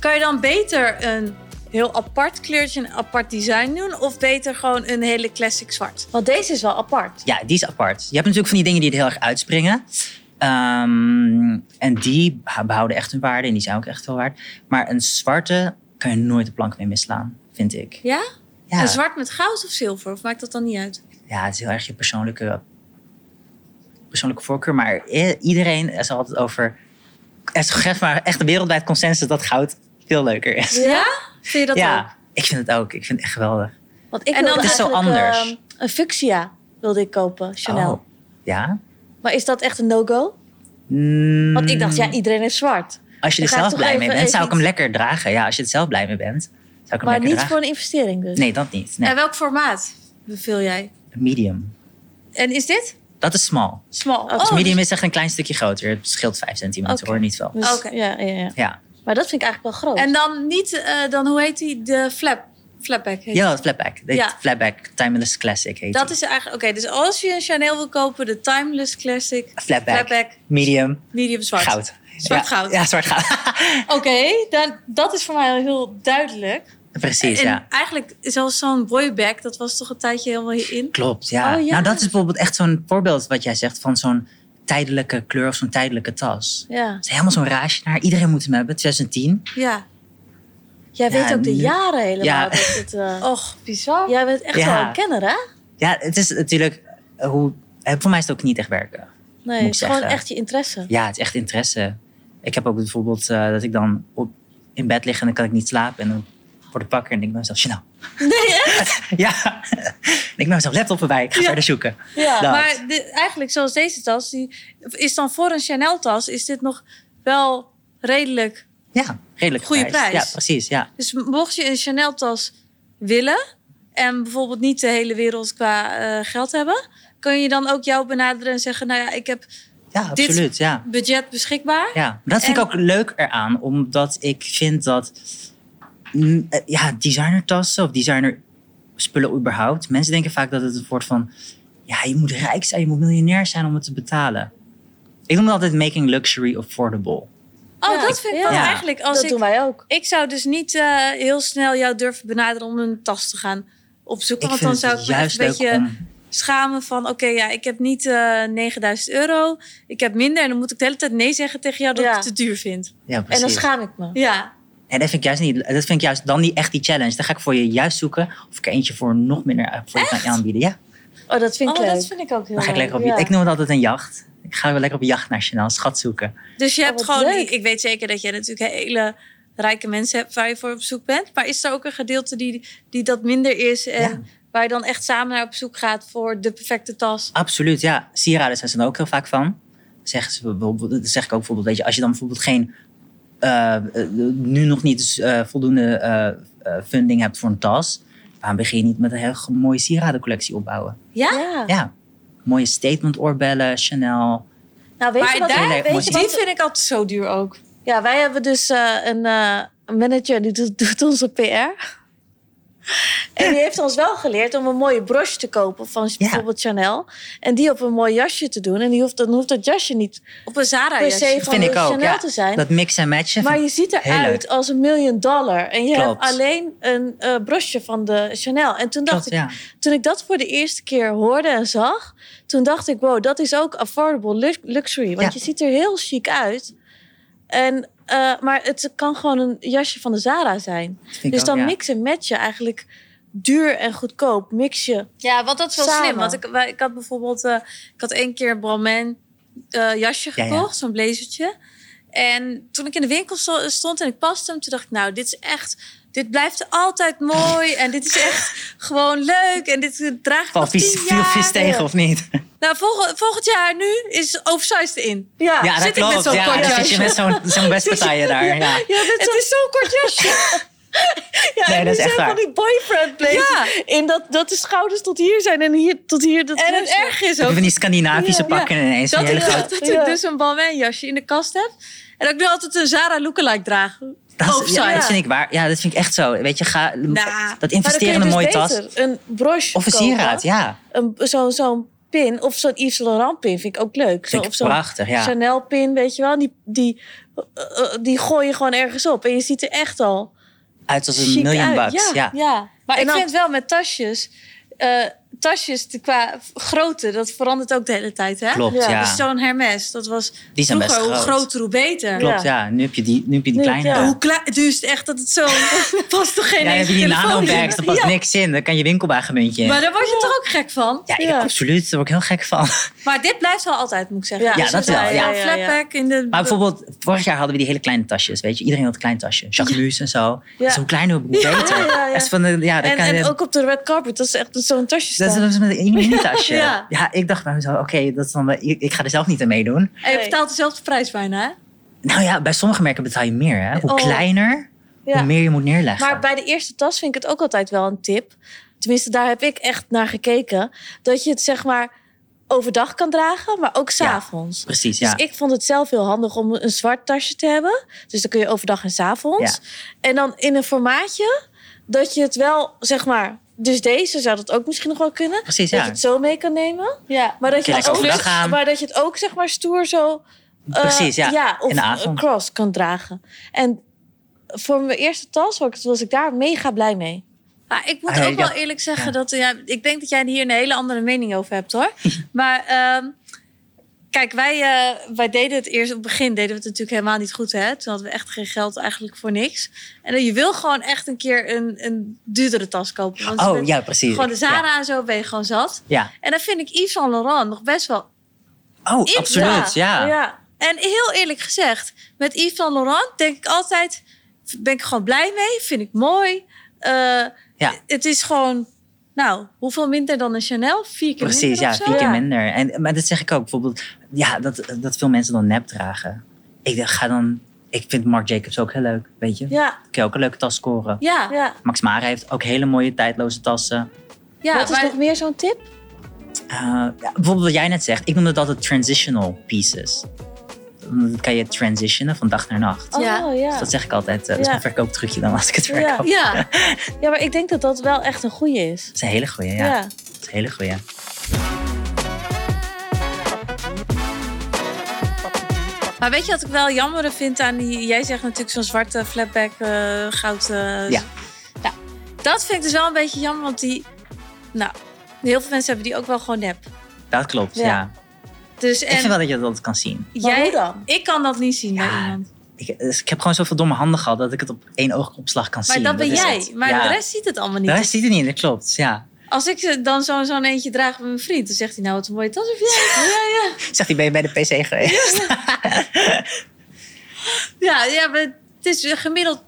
A: kan je dan beter een heel apart kleurtje, een apart design doen? Of beter gewoon een hele classic zwart? Want deze is wel apart.
C: Ja, die is apart. Je hebt natuurlijk van die dingen die er heel erg uitspringen. Ehm, en die behouden echt hun waarde en die zijn ook echt veel waard. Maar een zwarte kan je nooit de plank mee misslaan, vind ik.
A: Ja?
C: Ja,
A: En zwart met goud of zilver? Of maakt dat dan niet uit?
C: ja het is heel erg je persoonlijke, persoonlijke voorkeur. Maar i- iedereen is er altijd over. Er is echt maar echt een wereldwijd consensus dat goud veel leuker is.
A: Ja? Vind je dat ook?
C: ja, ik vind het ook. Ik vind het echt geweldig.
B: Want ik
A: En
B: wilde
A: dan-
C: Het is zo
B: eigenlijk,
C: anders.
B: ehm, een fuchsia wilde ik kopen, Chanel.
C: Oh, ja?
B: Maar is dat echt een no-go?
C: Mm.
B: Want ik dacht, ja, iedereen heeft zwart.
C: Als je
B: Dan
C: er
B: ga ik
C: zelf
B: toch
C: blij mee
B: even-
C: bent, zou ik
B: even
C: hem lekker dragen. Ja, als je er zelf blij mee bent, zou ik hem
B: Maar
C: lekker
B: niet
C: dragen.
B: voor een investering dus.
C: Nee, dat niet. Nee.
A: En welk formaat beveel jij?
C: Medium.
A: En is dit?
C: Dat is small.
A: Small.
C: Dus
A: Oh,
C: medium is echt een klein stukje groter. Het scheelt 5 centimeter
B: Oké.
C: hoor, niet veel.
B: Dus,
A: Oké.
B: ja, ja, ja.
C: Ja,
B: Maar dat vind ik eigenlijk wel groot.
A: En dan niet, eh, dan hoe heet die? De flap, flapback heet
C: ja dat flatback. Dit
A: Ja.
C: Flatback, Timeless Classic heet
A: Dat
C: die.
A: is eigenlijk, oké, dus als je een Chanel wil kopen, de Timeless Classic,
C: Flatback,
A: Flatback.
C: medium,
A: medium zwart.
C: goud.
A: Zwart
C: ja.
A: goud.
C: Ja, zwart goud.
A: Oké, dan, dat is voor mij al heel duidelijk.
C: Precies,
A: en
C: ja.
A: eigenlijk, zoals zo'n boyback, dat was toch een tijdje helemaal in.
C: Klopt, ja.
B: Oh, ja.
C: Nou, dat is bijvoorbeeld echt zo'n voorbeeld wat jij zegt van zo'n tijdelijke kleur of zo'n tijdelijke tas.
B: Ja.
C: Het is helemaal zo'n raasje naar. Iedereen moet hem hebben, 2010.
A: Ja.
B: Jij
C: Ja,
B: weet ook de
C: nu-
B: jaren helemaal.
C: Ja. Oh.
B: Dat het, eh,
A: Och, bizar.
B: Jij bent echt
C: Ja.
B: wel een kenner, hè?
C: Ja, het is natuurlijk eh, hoe. eh, Voor mij is het ook niet echt werken.
B: Nee,
C: Moet
B: het is gewoon
C: zeggen.
B: echt je interesse.
C: Ja, het is echt interesse. Ik heb ook bijvoorbeeld eh, dat ik dan op, in bed lig en dan kan ik niet slapen. En dan word ik wakker en denk ik bij mezelf, Chanel. Nee, echt? ja. en ik ben mezelf laptop erbij, ik ga verder zoeken.
B: Ja,
C: Dat.
A: Maar de- eigenlijk, zoals deze tas, die is dan voor een Chanel-tas, is dit nog wel redelijk.
C: Ja, redelijk
A: Goede prijs.
C: Ja, precies. Ja.
A: Dus mocht je een Chanel-tas willen en bijvoorbeeld niet de hele wereld qua eh, geld hebben, kun je dan ook jou benaderen en zeggen: Nou ja, ik heb
C: ja,
A: Dit-
C: absoluut. Ja.
A: budget beschikbaar.
C: Ja, maar dat vind ik
A: En-
C: ook leuk eraan, omdat ik vind dat mm, eh, ja, designertassen of designer spullen überhaupt, mensen denken vaak dat het een soort van ja, je moet rijk zijn, je moet miljonair zijn om het te betalen. Ik noem dat altijd making luxury affordable.
A: Oh,
B: Ja.
A: dat vind ik
B: Ja.
A: wel
C: Ja.
A: eigenlijk. Als
B: dat
A: ik,
B: doen wij ook.
A: ik zou dus niet eh, heel snel jou durven benaderen om een tas te gaan opzoeken.
C: Ik
A: want dan
C: vind
A: zou
C: het
A: ik me echt
C: juist
A: een
C: leuk
A: beetje
C: om...
A: schamen van... oké, ja, ik heb niet eh 9000 euro. Ik heb minder. En dan moet ik de hele tijd nee zeggen tegen jou dat
B: Ja.
A: ik het te duur vind.
C: Ja,
B: En dan
C: precies. En,
B: schaam ik me.
A: Ja.
C: dat vind ik juist niet. Dat vind ik juist dan niet echt die challenge. Dan ga ik voor je juist zoeken of ik er eentje voor nog minder eh, voor je kan aanbieden. Ja,
B: Oh, dat vind ik
A: Oh,
B: leuk.
A: dat vind ik ook heel
C: dan ga
A: leuk.
C: ik lekker op.
B: ja.
C: Ik noem het altijd een jacht. Ik ga wel lekker op jacht naar Chanel, schat zoeken.
A: Dus je
B: Oh,
A: hebt
B: wat
A: gewoon...
B: leuk.
A: Ik, ik weet zeker dat jij natuurlijk hele rijke mensen hebt... waar je voor op zoek bent. Maar is er ook een gedeelte die, die dat minder is... en
C: Ja.
A: waar je dan echt samen naar op zoek gaat voor de perfecte tas?
C: Absoluut, ja. Sieraden zijn ze dan ook heel vaak van. Zeggen ze bijvoorbeeld, dat zeg ik ook bijvoorbeeld, weet je, als je dan bijvoorbeeld geen, eh, eh, nu nog niet dus, eh, voldoende eh, eh, funding hebt voor een tas, waarom begin je niet met een heel mooie sieradencollectie opbouwen?
A: Ja?
B: Ja.
C: Ja, mooie statement oorbellen, Chanel.
B: Nou, weet je
A: Maar
B: wat?
A: daar-
C: Hele
B: weet je
C: emotie.
A: Die
B: wat
A: vind ik altijd zo duur ook.
B: Ja, wij hebben dus eh, een eh, een manager die doet, doet onze PR. En die heeft ons wel geleerd om een mooie broche te kopen van bijvoorbeeld Chanel. En die op een mooi jasje te doen. En die hoeft, dan hoeft dat jasje niet
A: Op een Zara
B: per se
A: jasje.
B: van
C: vind
B: de
C: ik ook,
B: Chanel
C: ja.
B: te zijn.
C: Dat mix en matchen.
B: maar je ziet
C: Heel
B: eruit
C: leuk.
B: als een million dollar. En je
C: Klopt.
B: hebt alleen een eh broche van de Chanel. En toen dacht
C: Klopt,
B: ik,
C: ja.
B: toen ik dat voor de eerste keer hoorde en zag, toen dacht ik, wow, dat is ook affordable lu- luxury. Want
C: Ja.
B: je ziet er heel chic uit. En, eh, maar het kan gewoon een jasje van de Zara zijn.
C: Dat vind ik
B: Dus
C: ook,
B: dan
C: ja.
B: mix en match je eigenlijk duur en goedkoop. Mix je.
A: Ja, want dat is wel
B: Samen.
A: slim. Want ik, wij- ik had bijvoorbeeld... eh, ik had één keer een Brahman eh, jasje
C: Ja, ja.
A: gekocht. Zo'n blazertje. En toen ik in de winkel sto- stond en ik paste hem... toen dacht ik, nou, dit is echt... Dit blijft altijd mooi. En dit is echt gewoon leuk. En dit eh, draag ik
C: Val
A: nog tien
C: vies, viel
A: jaar.
C: vis tegen of niet?
A: Nou, volgend, volgend jaar nu is oversized in.
B: Ja,
C: Ja, dat
A: zit ik met
C: klopt.
A: zo'n
C: Ja,
A: kort
C: dan zit je met zo'n zo'n best partijen daar. Ja.
A: Het is zo'n kort jasje.
B: Ja,
C: Nee,
B: en
C: dat is
B: die
C: echt
B: zijn
C: waar.
B: van die boyfriend places. In dat, dat de schouders tot hier zijn en hier tot hier. Dat
A: En het
B: neusje.
A: erg is
C: Heb je
A: ook
C: van die Scandinavische pakken en ineens een
A: dat
C: hele
A: ik,
C: grote...
A: dat
B: Ja.
A: ik dus een Balmain jasje in de kast heb. En dat ik nu altijd een Zara lookalike draag.
C: Dat, is- ja,
A: Oversized.
C: dat vind ik waar. Ja, dat vind ik echt zo. Weet je, ga, dat
B: Nou, Maar dan kun
C: investeren
B: je
C: in een
B: dus
C: mooie tas.
B: beter Een broche
C: Of een
B: kopen.
C: sieraad, ja.
B: Een- Zo'n zo'n pin of zo'n Yves Saint Laurent pin vind ik ook leuk. Zo,
C: Vind ik
B: of zo'n
C: prachtig, ja.
B: Chanel pin, weet je wel. Die, die, eh, eh, die gooi je gewoon ergens op. En je ziet er echt al
C: Uit als een
B: chic
C: miljoen
B: uit.
C: bucks. Ja.
B: ja.
A: Maar
B: En
A: ik
B: dan-
A: vind wel met tasjes... eh, tasjes te- qua grootte, dat verandert ook de hele tijd, hè?
C: Klopt,
B: Ja.
C: ja.
A: Dus zo'n Hermes, dat was
C: Die zijn
A: vroeger,
C: best
A: hoe
C: groot.
A: groter, hoe beter.
C: Klopt, ja. Nu heb je die, nu heb je die
B: Nu-
C: kleinere.
B: ja.
A: Hoe klein, het duurt echt dat het zo... past toch geen
C: Ja, dan heb
A: enkele
C: je die
A: telefoon in?
C: nanobags, daar past
A: Ja.
C: niks in. Dan kan je winkelwagenmuntje in.
A: Maar daar word je toch ook gek van?
C: ja, ik-
B: Ja.
C: absoluut. Daar word ik heel gek van.
A: Maar dit blijft wel altijd, moet ik zeggen.
B: Ja,
A: Dus
C: dat
A: het-
C: wel, ja.
A: een Flatback in de...
C: Maar bijvoorbeeld, vorig jaar hadden we die hele kleine tasjes, weet je. Iedereen had een klein tasje. Jacquemus en zo.
B: Ja.
C: Zo'n kleine, hoe beter.
B: Ja, ja, ja.
C: Echt van, eh, ja, dan
B: En,
C: kan je-
B: en ook op de red carpet, dat is echt zo'n tasje
C: dat
B: staan.
C: is dat is met een mini-tasje.
A: Ja.
C: ja. ik dacht bij mezelf, oké, dat is dan wel- ik, ik ga er zelf niet aan meedoen.
A: En je betaalt dezelfde prijs bijna, hè?
C: Nou ja, bij sommige merken betaal je meer, hè. Hoe
B: Oh.
C: kleiner,
B: Ja.
C: hoe meer je moet neerleggen.
B: Maar bij de eerste tas vind ik het ook altijd wel een tip. Tenminste, daar heb ik echt naar gekeken. Dat je het zeg maar overdag kan dragen, maar ook
C: Ja.
B: s'avonds.
C: Precies, ja.
B: Dus ik vond het zelf heel handig om een zwart tasje te hebben. Dus dan kun je overdag en s'avonds. En dan in een formaatje dat je het wel, zeg maar... Dus deze zou dat ook misschien nog wel kunnen.
C: Precies,
B: Dat
C: ja.
B: je het zo mee kan nemen.
A: Ja.
B: Maar dat je,
C: Kun je
B: het
C: lekker
B: ook,
C: overdag gaan.
B: maar dat je het ook, zeg maar, stoer zo... eh,
C: Precies, ja.
B: of
C: In de avond.
B: cross kan dragen. En voor mijn eerste tas was- was ik daar mega blij mee.
A: Maar Nou, ik moet
C: Ah, ja,
A: ook wel
C: ja.
A: eerlijk zeggen
C: Ja.
A: dat... Ja, ik denk dat jij hier een hele andere mening over hebt, hoor. maar ehm, kijk, wij, eh, wij deden het eerst... Op het begin deden we het natuurlijk helemaal niet goed, hè? Toen hadden we echt geen geld eigenlijk voor niks. En eh, je wil gewoon echt een keer een, een duurdere tas kopen. Want je
C: Oh,
A: bent
C: ja, precies.
A: Gewoon de
C: Ik-
A: Zara
C: Ja.
A: en zo ben je gewoon zat.
C: Ja.
A: En dan vind ik Yves Saint Laurent nog best wel
C: Oh, absoluut, ja.
B: ja.
A: En heel eerlijk gezegd, met Yves Saint Laurent denk ik altijd... ben ik gewoon blij mee, vind ik mooi. Eh,
C: Ja.
A: Het is gewoon, nou, hoeveel minder dan een Chanel? Vier keer
C: Precies,
A: minder
C: ja,
A: of zo?
C: vier keer
B: Ja.
C: minder. En, maar dat zeg ik ook, bijvoorbeeld, ja, dat, dat veel mensen dan nep dragen. Ik dacht, ga dan, ik vind Marc Jacobs ook heel leuk, weet je.
B: Ja.
C: Kun je ook een leuke tas scoren.
A: Ja, ja,
B: Ja.
C: Max Mara heeft ook hele mooie tijdloze tassen.
B: Wat is
A: maar
B: nog meer zo'n tip?
C: Eh, ja, bijvoorbeeld wat jij net zegt, ik noem dat altijd transitional pieces. Omdat dat kan je transitionen van dag naar nacht.
A: Ja.
B: Oh, ja.
C: Dus dat zeg ik altijd. eh, dat is
B: Ja.
C: een verkooptrucje dan als ik het
B: Ja.
C: verkoop.
A: ja.
B: ja, maar ik denk dat dat wel echt een goede is.
C: Dat is een hele goeie, ja.
B: Ja.
C: Dat is een hele goeie.
A: Maar weet je wat ik wel jammer vind aan die... Jij zegt natuurlijk zo'n zwarte flatback, eh goud... eh,
C: Ja.
A: Nou, dat vind ik dus wel een beetje jammer, want die... Nou, heel veel mensen hebben die ook wel gewoon nep.
C: Dat klopt,
B: Ja.
C: ja.
A: Dus
C: Ik vind
A: en
C: wel dat je dat kan zien.
B: Maar
A: jij...
B: hoe dan?
A: Ik kan dat niet zien bij
C: Ja,
A: iemand.
C: Ik, dus ik heb gewoon zoveel domme handen gehad dat ik het op één oogopslag kan
A: Maar
C: zien.
A: dat ben
C: is
A: jij.
C: het.
A: Maar
C: Ja.
A: de rest ziet het allemaal niet.
C: De rest ziet het niet, dat klopt. Ja.
A: Als ik ze dan zo- zo'n eentje draag met mijn vriend, dan zegt hij nou wat een mooie tas heb jij. ja, ja.
C: Zegt hij, ben je bij de PC geweest?
A: Ja, ja, maar het is eh, gemiddeld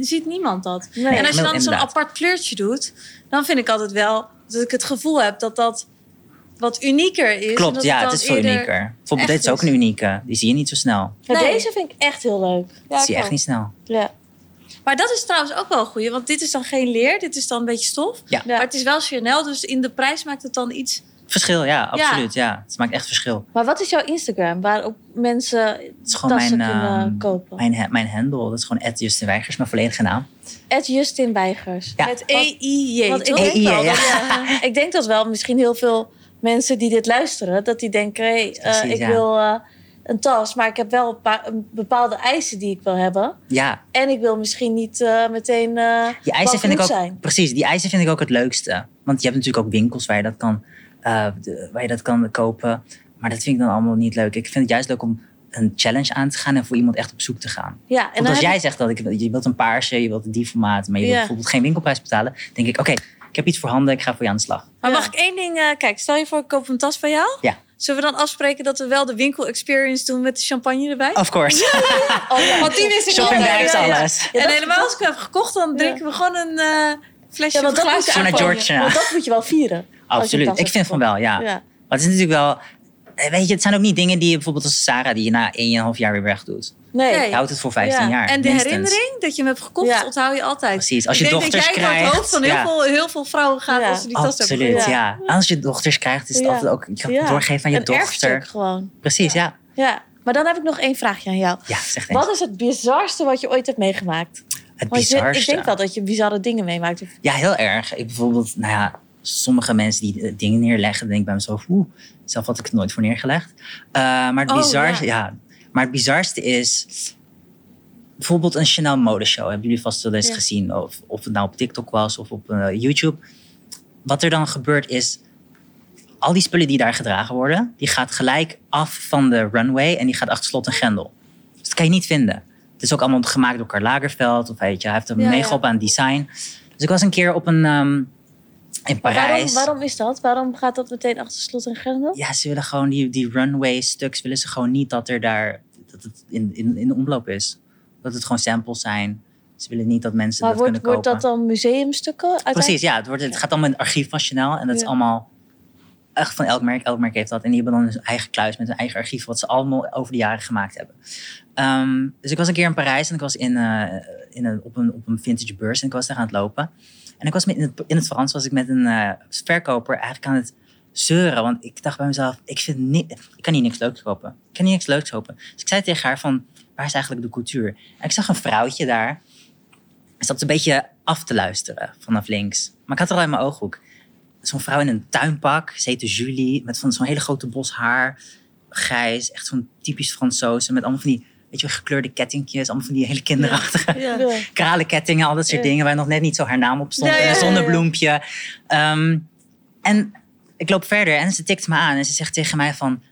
A: ziet niemand dat.
B: Nee.
A: en als je dan zo'n
C: Inderdaad.
A: apart kleurtje doet, dan vind ik altijd wel dat ik het gevoel heb dat dat wat unieker is. en
C: Klopt,
A: dat
C: ja,
A: dan
C: het is veel
A: eerder-
C: unieker. Bijvoorbeeld, dit
A: echt
C: is ook
A: is.
C: een unieke. Die zie je niet zo snel.
B: Maar
A: Nee.
B: Deze vind ik echt heel leuk.
C: dat zie je echt niet snel.
B: Ja.
A: Maar dat is trouwens ook wel goed, want dit is dan geen leer, dit is dan een beetje stof.
C: Ja.
A: Maar het is wel Chanel, dus in de prijs maakt het dan iets.
C: Verschil, ja, absoluut. Ja. Het maakt echt verschil.
B: Maar wat is jouw Instagram waarop mensen
C: Het is gewoon
B: tassen
C: mijn,
B: kunnen
C: ehm,
B: kopen?
C: mijn, ha- mijn handle. Dat is gewoon Ed Justin Weigers, mijn volledige naam.
B: At Justin Weigers.
C: Ja.
B: Met E.
A: EIJ,
B: Want ik
A: toch?
C: E-
B: denk,
C: I-
B: wel
C: ja.
B: dat, ja, ik denk dat wel misschien heel veel mensen die dit luisteren, dat die denken, hé, eh,
C: Precies,
B: ik
C: ja.
B: wil eh, een tas, maar ik heb wel een paar- een bepaalde eisen die ik wil hebben.
C: Ja,
B: En ik wil misschien niet eh, meteen eh
C: die eisen vind ik ook.
B: balkoniet zijn.
C: Precies, die eisen vind ik ook het leukste. Want je hebt natuurlijk ook winkels waar je dat kan, eh, de- waar je dat kan kopen. Maar dat vind ik dan allemaal niet leuk. Ik vind het juist leuk om een challenge aan te gaan en voor iemand echt op zoek te gaan.
B: Ja, en
C: Want
B: dan
C: als
B: heb
C: jij
B: ik-
C: zegt dat ik, je wilt een paarse, je wilt die formaat, maar je
B: Ja.
C: wilt bijvoorbeeld geen winkelprijs betalen, denk ik, oké, ik heb iets voor handen, ik ga voor je aan de slag.
A: Maar
B: Ja.
A: mag ik één ding... eh, kijk, stel je voor, ik koop een tas bij jou.
C: Ja.
A: Zullen we dan afspreken dat we wel de winkel experience doen met de champagne erbij?
C: Of course.
B: oh, ja.
A: Want die wist ik
C: Shopping
A: altijd.
C: bags,
A: Ja, ja.
C: alles.
A: En helemaal als ik hem heb gekocht, dan drinken we gewoon een eh, flesje
B: Ja,
A: van
B: want dat moet je
C: Gewoon naar
B: aanpakken.
C: Georgia.
B: Want dat moet je wel vieren. als je een tas
C: Absoluut. Ik
B: hebt
C: vind van wel, ja.
B: gekocht. Ja.
C: Maar het is natuurlijk wel, eh, weet je, het zijn ook niet dingen die je bijvoorbeeld als Sarah die je na 1,5 jaar weer wegdoet.
B: Nee.
C: Je houdt het voor 15
A: Ja,
C: jaar.
A: En de
C: minstens.
A: herinnering dat je hem hebt gekocht,
B: Ja.
A: onthoud je altijd.
C: Precies, als je
A: ik denk
C: dochters
A: dat jij
C: krijgt.
A: naar het hoofd van heel,
C: ja.
A: veel, heel veel vrouwen gaat
B: Ja.
A: als ze die tas hebben
C: Absoluut,
A: gekocht.
C: ja. Als je dochters krijgt, is het
B: Ja.
C: altijd ook je kan
B: Ja.
C: doorgeven aan je
B: een erfstuk
C: dochter.
B: gewoon.
C: Precies, ja.
B: Ja. Maar dan heb ik nog één vraagje aan jou.
C: Ja, zeg eens.
B: Wat is het bizarste wat je ooit hebt meegemaakt?
C: Het
B: Want je-
C: bizarste.
B: ik denk wel dat je bizarre dingen meemaakt.
C: Ja, heel erg. Ik bijvoorbeeld, nou ja, sommige mensen die eh, dingen neerleggen, dan denk ik bij mezelf, oeh, zelf had ik het nooit voor neergelegd. Eh, maar, het
A: Oh,
C: bizarste,
A: ja.
C: ja. maar het bizarste is, bijvoorbeeld een Chanel modeshow, hebben jullie vast wel eens gezien, of, of het nou op TikTok was of op eh, YouTube. Wat er dan gebeurt is, al die spullen die daar gedragen worden, die gaat gelijk af van de runway en die gaat achter slot en grendel. Dus dat kan je niet vinden. Het is ook allemaal gemaakt door Karl Lagerfeld, of weet je, hij heeft er
A: Ja,
C: mega
A: ja.
C: op aan design. Dus ik was een keer op een, ehm, in
B: Maar waarom,
C: Parijs.
B: waarom is dat? Waarom gaat dat meteen achter slot en grendel?
C: Ja, ze willen gewoon die, die runway stuks, willen ze gewoon niet dat er daar, dat het in, in, in de omloop is. Dat het gewoon samples zijn. Ze willen niet dat mensen
B: Maar
C: dat
B: wordt,
C: kunnen
B: wordt
C: kopen.
B: dat dan museumstukken? uiteindelijk?
C: Precies, ja. Het, wordt, het gaat allemaal in het archief van Chanel. En dat is
B: Ja.
C: allemaal echt van elk merk. Elk merk heeft dat. En die hebben dan hun eigen kluis met hun eigen archief. Wat ze allemaal over de jaren gemaakt hebben. Ehm, dus ik was een keer in Parijs. En ik was in, eh, in een, op, een, op een vintage beurs. En ik was daar aan het lopen. En ik was met, in, het, in het Frans was ik met een eh, verkoper eigenlijk aan het zeuren. Want ik dacht bij mezelf, ik, vind ni- ik kan hier niks leuks kopen. Ik kan hier niks leuks kopen. Dus ik zei tegen haar van, waar is eigenlijk de cultuur? En ik zag een vrouwtje daar. Ik zat een beetje af te luisteren vanaf links. Maar ik had het al in mijn ooghoek. Zo'n vrouw in een tuinpak, ze heette Julie, met van zo'n hele grote bos haar. Grijs, echt zo'n typisch Fransoze. Met allemaal van die, weet je, wel, gekleurde kettingjes. Allemaal van die hele kinderachtige
B: Ja.
C: kralen kettingen. Al dat soort dingen waar nog net niet zo haar naam op stond.
A: Ja, ja,
C: en
A: ja,
C: een
A: ja.
C: zonnebloempje. Ehm, en ik loop verder en ze tikt me aan. En ze zegt tegen mij van,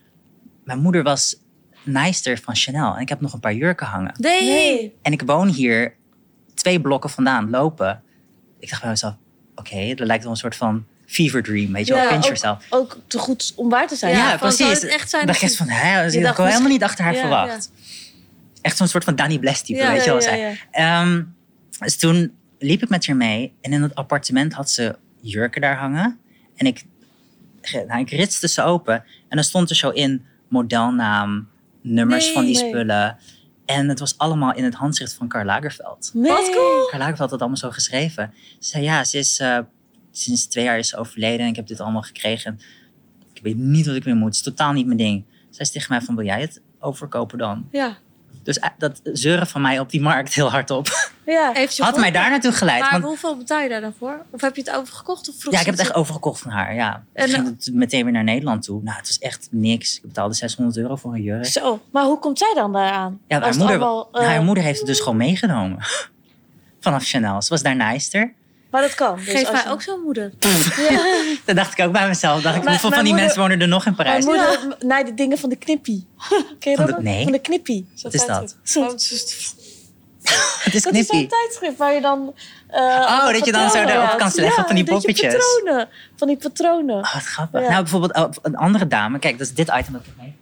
C: mijn moeder was naaister van Chanel. En ik heb nog een paar jurken hangen.
A: Nee.
B: Nee.
C: En ik woon hier twee blokken vandaan lopen. Ik dacht bij mezelf, oké, dat lijkt wel een soort van fever dream, weet je wel,
B: Ja,
C: pinch
B: ook-
C: yourself.
B: Ook te goed om waar te zijn.
A: Ja, van, zou het echt zijn
C: Ik dacht
A: dat
C: echt van, hè,
B: Je
C: dat had
B: dacht
C: ik wel helemaal
B: misschien-
C: niet achter haar
B: Ja,
C: verwacht. Echt zo'n soort van Danny Bless type,
A: Ja,
C: weet je
B: ja,
C: wel.
B: ja,
C: zij. Ehm, dus toen liep ik met haar mee en in het appartement had ze jurken daar hangen. En ik, ge- nou, ik ritste ze open en dan stond er zo in modelnaam, nummers van die
B: Nee.
C: spullen. En het was allemaal in het handschrift van Karl Lagerfeld.
B: Nee.
A: Wat cool.
C: Carla had dat allemaal zo geschreven. Ze zei, ja, ze is, eh, sinds twee jaar is ze overleden en ik heb dit allemaal gekregen. Ik weet niet wat ik meer moet. Het is totaal niet mijn ding. Zij is tegen mij van, wil jij het overkopen dan?
B: Ja.
C: Dus eh, dat zeuren van mij op die markt heel hard op.
B: Ja.
A: Heeft je
C: Had mij
A: geholpen?
C: daar naartoe geleid.
A: Maar
C: Want,
A: hoeveel betaal je daar dan voor? Of heb je het overgekocht? Of vroeg
C: ja, ik
A: ze
C: heb het echt overgekocht van haar, ja.
A: En,
C: Ik ging het meteen weer naar Nederland toe. Nou, het was echt niks. Ik betaalde 600 euro voor een jurk.
B: Zo, maar hoe komt zij dan daaraan?
C: Ja, haar
B: Als het
C: moeder,
B: allemaal, eh,
C: haar moeder heeft het dus gewoon meegenomen. Vanaf Chanel. Ze was daar naaister.
B: Maar dat kan. Dus
A: Geef
B: als
A: mij
B: je-
A: ook zo'n moeder.
C: Dat dacht ik ook bij mezelf. Dacht ik,
B: Maar-
C: hoeveel
B: mijn
C: van die
B: moeder-
C: mensen wonen er nog in Parijs?
B: Mijn moeder m- naait de dingen van de knippie. Ken je
C: Van
B: dat
C: de-
B: nog?
C: nee.
B: Van de knippie.
C: Wat is dat?
B: Zo-
C: Het is
B: Dat is
C: knippie.
B: zo'n tijdschrift waar je dan... eh,
C: Oh, dat je dan zo
B: patronen
C: daarop
B: had.
C: kan leggen
B: Ja,
C: van die
B: dat je
C: poppetjes.
B: patronen. Van die patronen.
C: Oh, wat grappig.
B: Ja.
C: Nou, bijvoorbeeld oh, een andere dame. Kijk, dat is dit item dat ik heb meegenomen.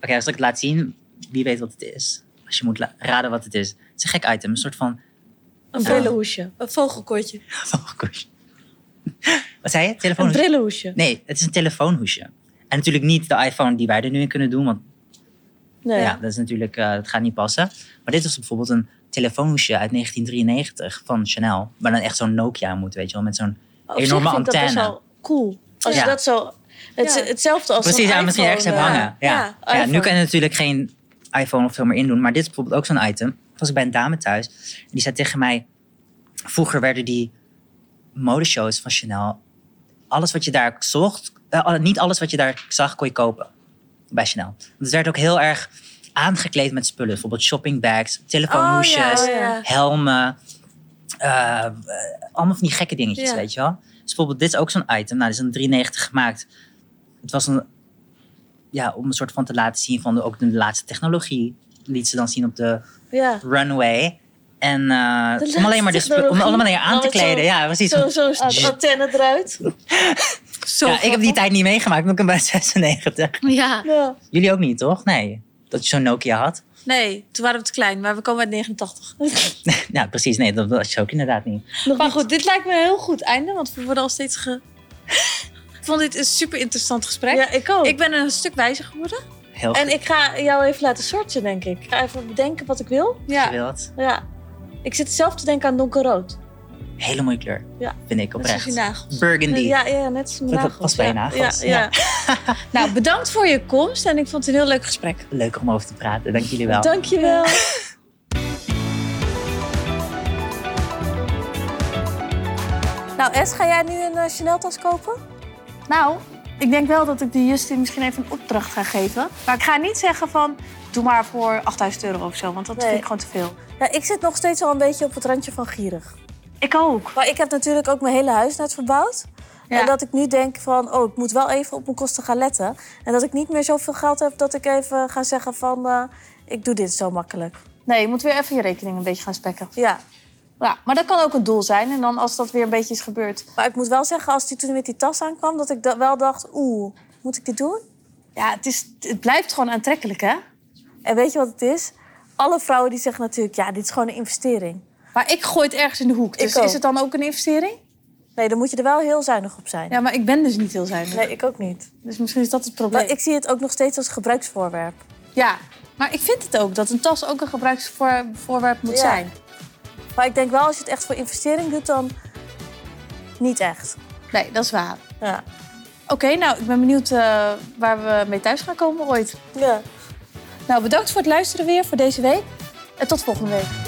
C: Oké, als ik het laat zien, wie weet wat het is. Als je moet la- raden wat het is. Het is een gek item. Een soort van... Ah.
B: Een brillenhoesje.
A: Een vogelkoortje.
C: Oh, gosh. Wat zei je?
B: Een
C: Telefoonhoesje?
B: brillenhoesje.
C: Nee, het is een telefoonhoesje. En natuurlijk niet de iPhone die wij er nu in kunnen doen. Want
B: Nee.
C: ja, dat is natuurlijk... eh het gaat niet passen. Maar dit was bijvoorbeeld een telefoonhoesje uit 1993 van Chanel. Waar dan echt zo'n Nokia moet, weet je wel. Met zo'n
B: Oh, Op zich
C: enorme
B: vind ik dat best
C: antenne.
B: wel cool. Als
C: Ja.
B: je dat zo... Het is
A: Ja.
B: hetzelfde als
C: Precies,
B: zo'n
C: ja, misschien ergens
B: iPhone,
C: hebben
B: eh,
C: hangen. Ja. Ja, nu
B: iPhone.
C: kan je natuurlijk geen iPhone of zo meer indoen. Maar dit is bijvoorbeeld ook zo'n item. Toen was ik bij een dame thuis. En die zei tegen mij... Vroeger werden die modeshows van Chanel... Alles wat je daar zocht... eh, alle- niet alles wat je daar zag, kon je kopen. Bij Chanel. Want het werd ook heel erg aangekleed met spullen. Bijvoorbeeld shoppingbags, telefoonhoesjes,
A: Oh, ja, ja.
C: helmen. eh, eh, allemaal van die gekke dingetjes,
A: Ja.
C: weet je wel. Dus bijvoorbeeld dit is ook zo'n item. Nou, dit is een 93 gemaakt. Het was een ja, om een soort van te laten zien van de, ook de laatste technologie. Liet ze dan zien op de
B: Ja.
C: runway. En eh, om
B: laatste
C: alleen maar de spu- om
B: technologie.
C: allemaal alleen aan te
B: Altijd zo-
C: kleden. Ja, precies.
B: Zo'n zo
E: Ah,
B: antenne eruit.
A: Zo
C: Ja, ik heb die
A: grappig.
C: tijd niet meegemaakt, want ik ben bij 96.
A: Ja.
B: Ja.
C: Jullie ook niet, toch? Nee. Dat je zo'n Nokia had.
A: Nee, toen waren we te klein. Maar we komen uit 89.
C: nou, precies. Nee, dat was je ook inderdaad niet.
A: maar goed, dit lijkt me een heel goed einde. Want we worden al steeds ge...
E: vond dit een super interessant gesprek.
F: Ja, ik
A: Oh.
F: ook.
E: Ik ben een stuk wijzer geworden.
C: Heel goed.
F: En ik ga jou even laten sorten, denk ik. Ik ga even bedenken wat ik wil.
C: je
E: Ja,
C: wilt.
F: Ja. Ik zit zelf te denken aan donkerrood.
C: Hele mooie kleur.
F: Ja.
C: Vind ik
E: dat is
C: oprecht.
E: je nagels.
C: Burgundy.
F: Ja, ja, net als mijn
C: Dat- dat
F: nagels.
C: past bij je
F: Ja,
C: nagels,
F: Ja, ja.
E: Nou, bedankt voor je komst en ik vond het een heel leuk gesprek.
C: Leuk om over te praten. Dank jullie wel.
F: Dankjewel.
B: Nou, Es, ga jij nu een eh, Chanel-tas kopen?
A: Nou, ik denk wel dat ik die Justin misschien even een opdracht ga geven. Maar ik ga niet zeggen van, doe maar voor 8000 euro of zo. Want dat
B: Nee.
A: vind ik gewoon te veel.
B: Ja, ik zit nog steeds al een beetje op het randje van gierig.
A: Ik ook.
B: Maar ik heb natuurlijk ook mijn hele huis net verbouwd.
E: Ja.
B: En dat ik nu denk van, oh, ik moet wel even op mijn kosten gaan letten. En dat ik niet meer zoveel geld heb dat ik even ga zeggen van... eh, ik doe dit zo makkelijk.
A: Nee, je moet weer even je rekening een beetje gaan spekken.
B: Ja,
A: Ja, maar dat kan ook een doel zijn. En dan als dat weer een beetje is gebeurd.
B: maar ik moet wel zeggen, als die toen met die tas aankwam... dat ik da- wel dacht, oeh, moet ik dit doen?
A: Ja, het, is, het blijft gewoon aantrekkelijk, hè?
B: En weet je wat het is? Alle vrouwen die zeggen natuurlijk, ja, dit is gewoon een investering.
A: Maar ik gooi het ergens in de hoek. Dus
B: ook.
A: is het dan ook een investering?
B: Nee, dan moet je er wel heel zuinig op zijn.
A: Ja, maar ik ben dus niet heel zuinig.
B: Nee, ik ook niet.
A: Dus misschien is dat het probleem.
B: Maar ik zie het ook nog steeds als gebruiksvoorwerp.
A: Ja, maar ik vind het ook dat een tas ook een gebruiksvoorwerp moet
B: Ja.
A: zijn.
B: Maar ik denk wel, als je het echt voor investering doet, dan niet echt.
A: Nee, dat is waar.
B: Ja.
A: Oké, nou, ik ben benieuwd eh, waar we mee thuis gaan komen ooit.
B: ja.
A: Nou, bedankt voor het luisteren weer voor deze week. En tot volgende week.